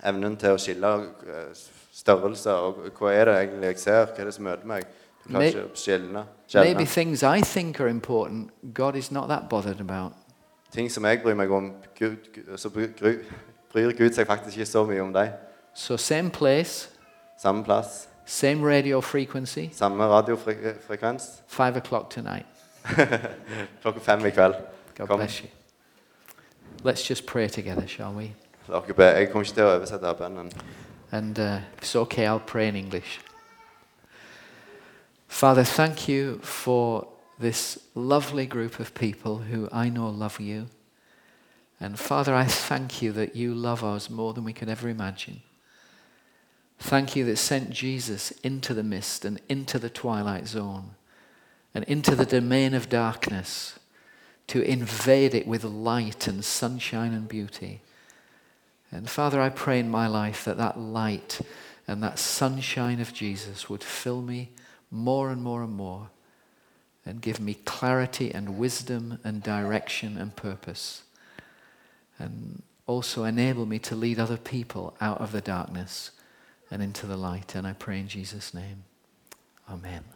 Speaker 2: evnen til å skille eh, størrelser. Og hva er det egentlig jeg ser? Hva er det som møter meg? Du
Speaker 1: May-
Speaker 2: klarer ikke å skjelne.
Speaker 1: Maybe
Speaker 2: skjelne.
Speaker 1: things I think are important, God is not that bothered about.
Speaker 2: Ting som jeg bryr meg om, Gud, Gud- så bryr, gru- bryr Gud seg faktisk ikke så mye om deg.
Speaker 1: So, same place,
Speaker 2: Samme plass,
Speaker 1: same radio frequency,
Speaker 2: samme radiofrekvens. (laughs)
Speaker 1: five o'clock tonight.
Speaker 2: Klokka fem i kveld.
Speaker 1: God
Speaker 2: Kom.
Speaker 1: bless you. Let's just pray together, shall we?
Speaker 2: Dere ber. Jeg kommer ikke til å oversette bønnen.
Speaker 1: And uh, if it's okay, I'll pray in English. Father, thank you for this lovely group of people who I know love you. And Father, I thank you that you love us more than we could ever imagine. Thank you that sent Jesus into the mist and into the twilight zone and into the domain of darkness to invade it with light and sunshine and beauty. And Father, I pray in my life that that light and that sunshine of Jesus would fill me more and more and more and give me clarity and wisdom and direction and purpose. And also enable me to lead other people out of the darkness and into the light. And I pray in Jesus' name. Amen.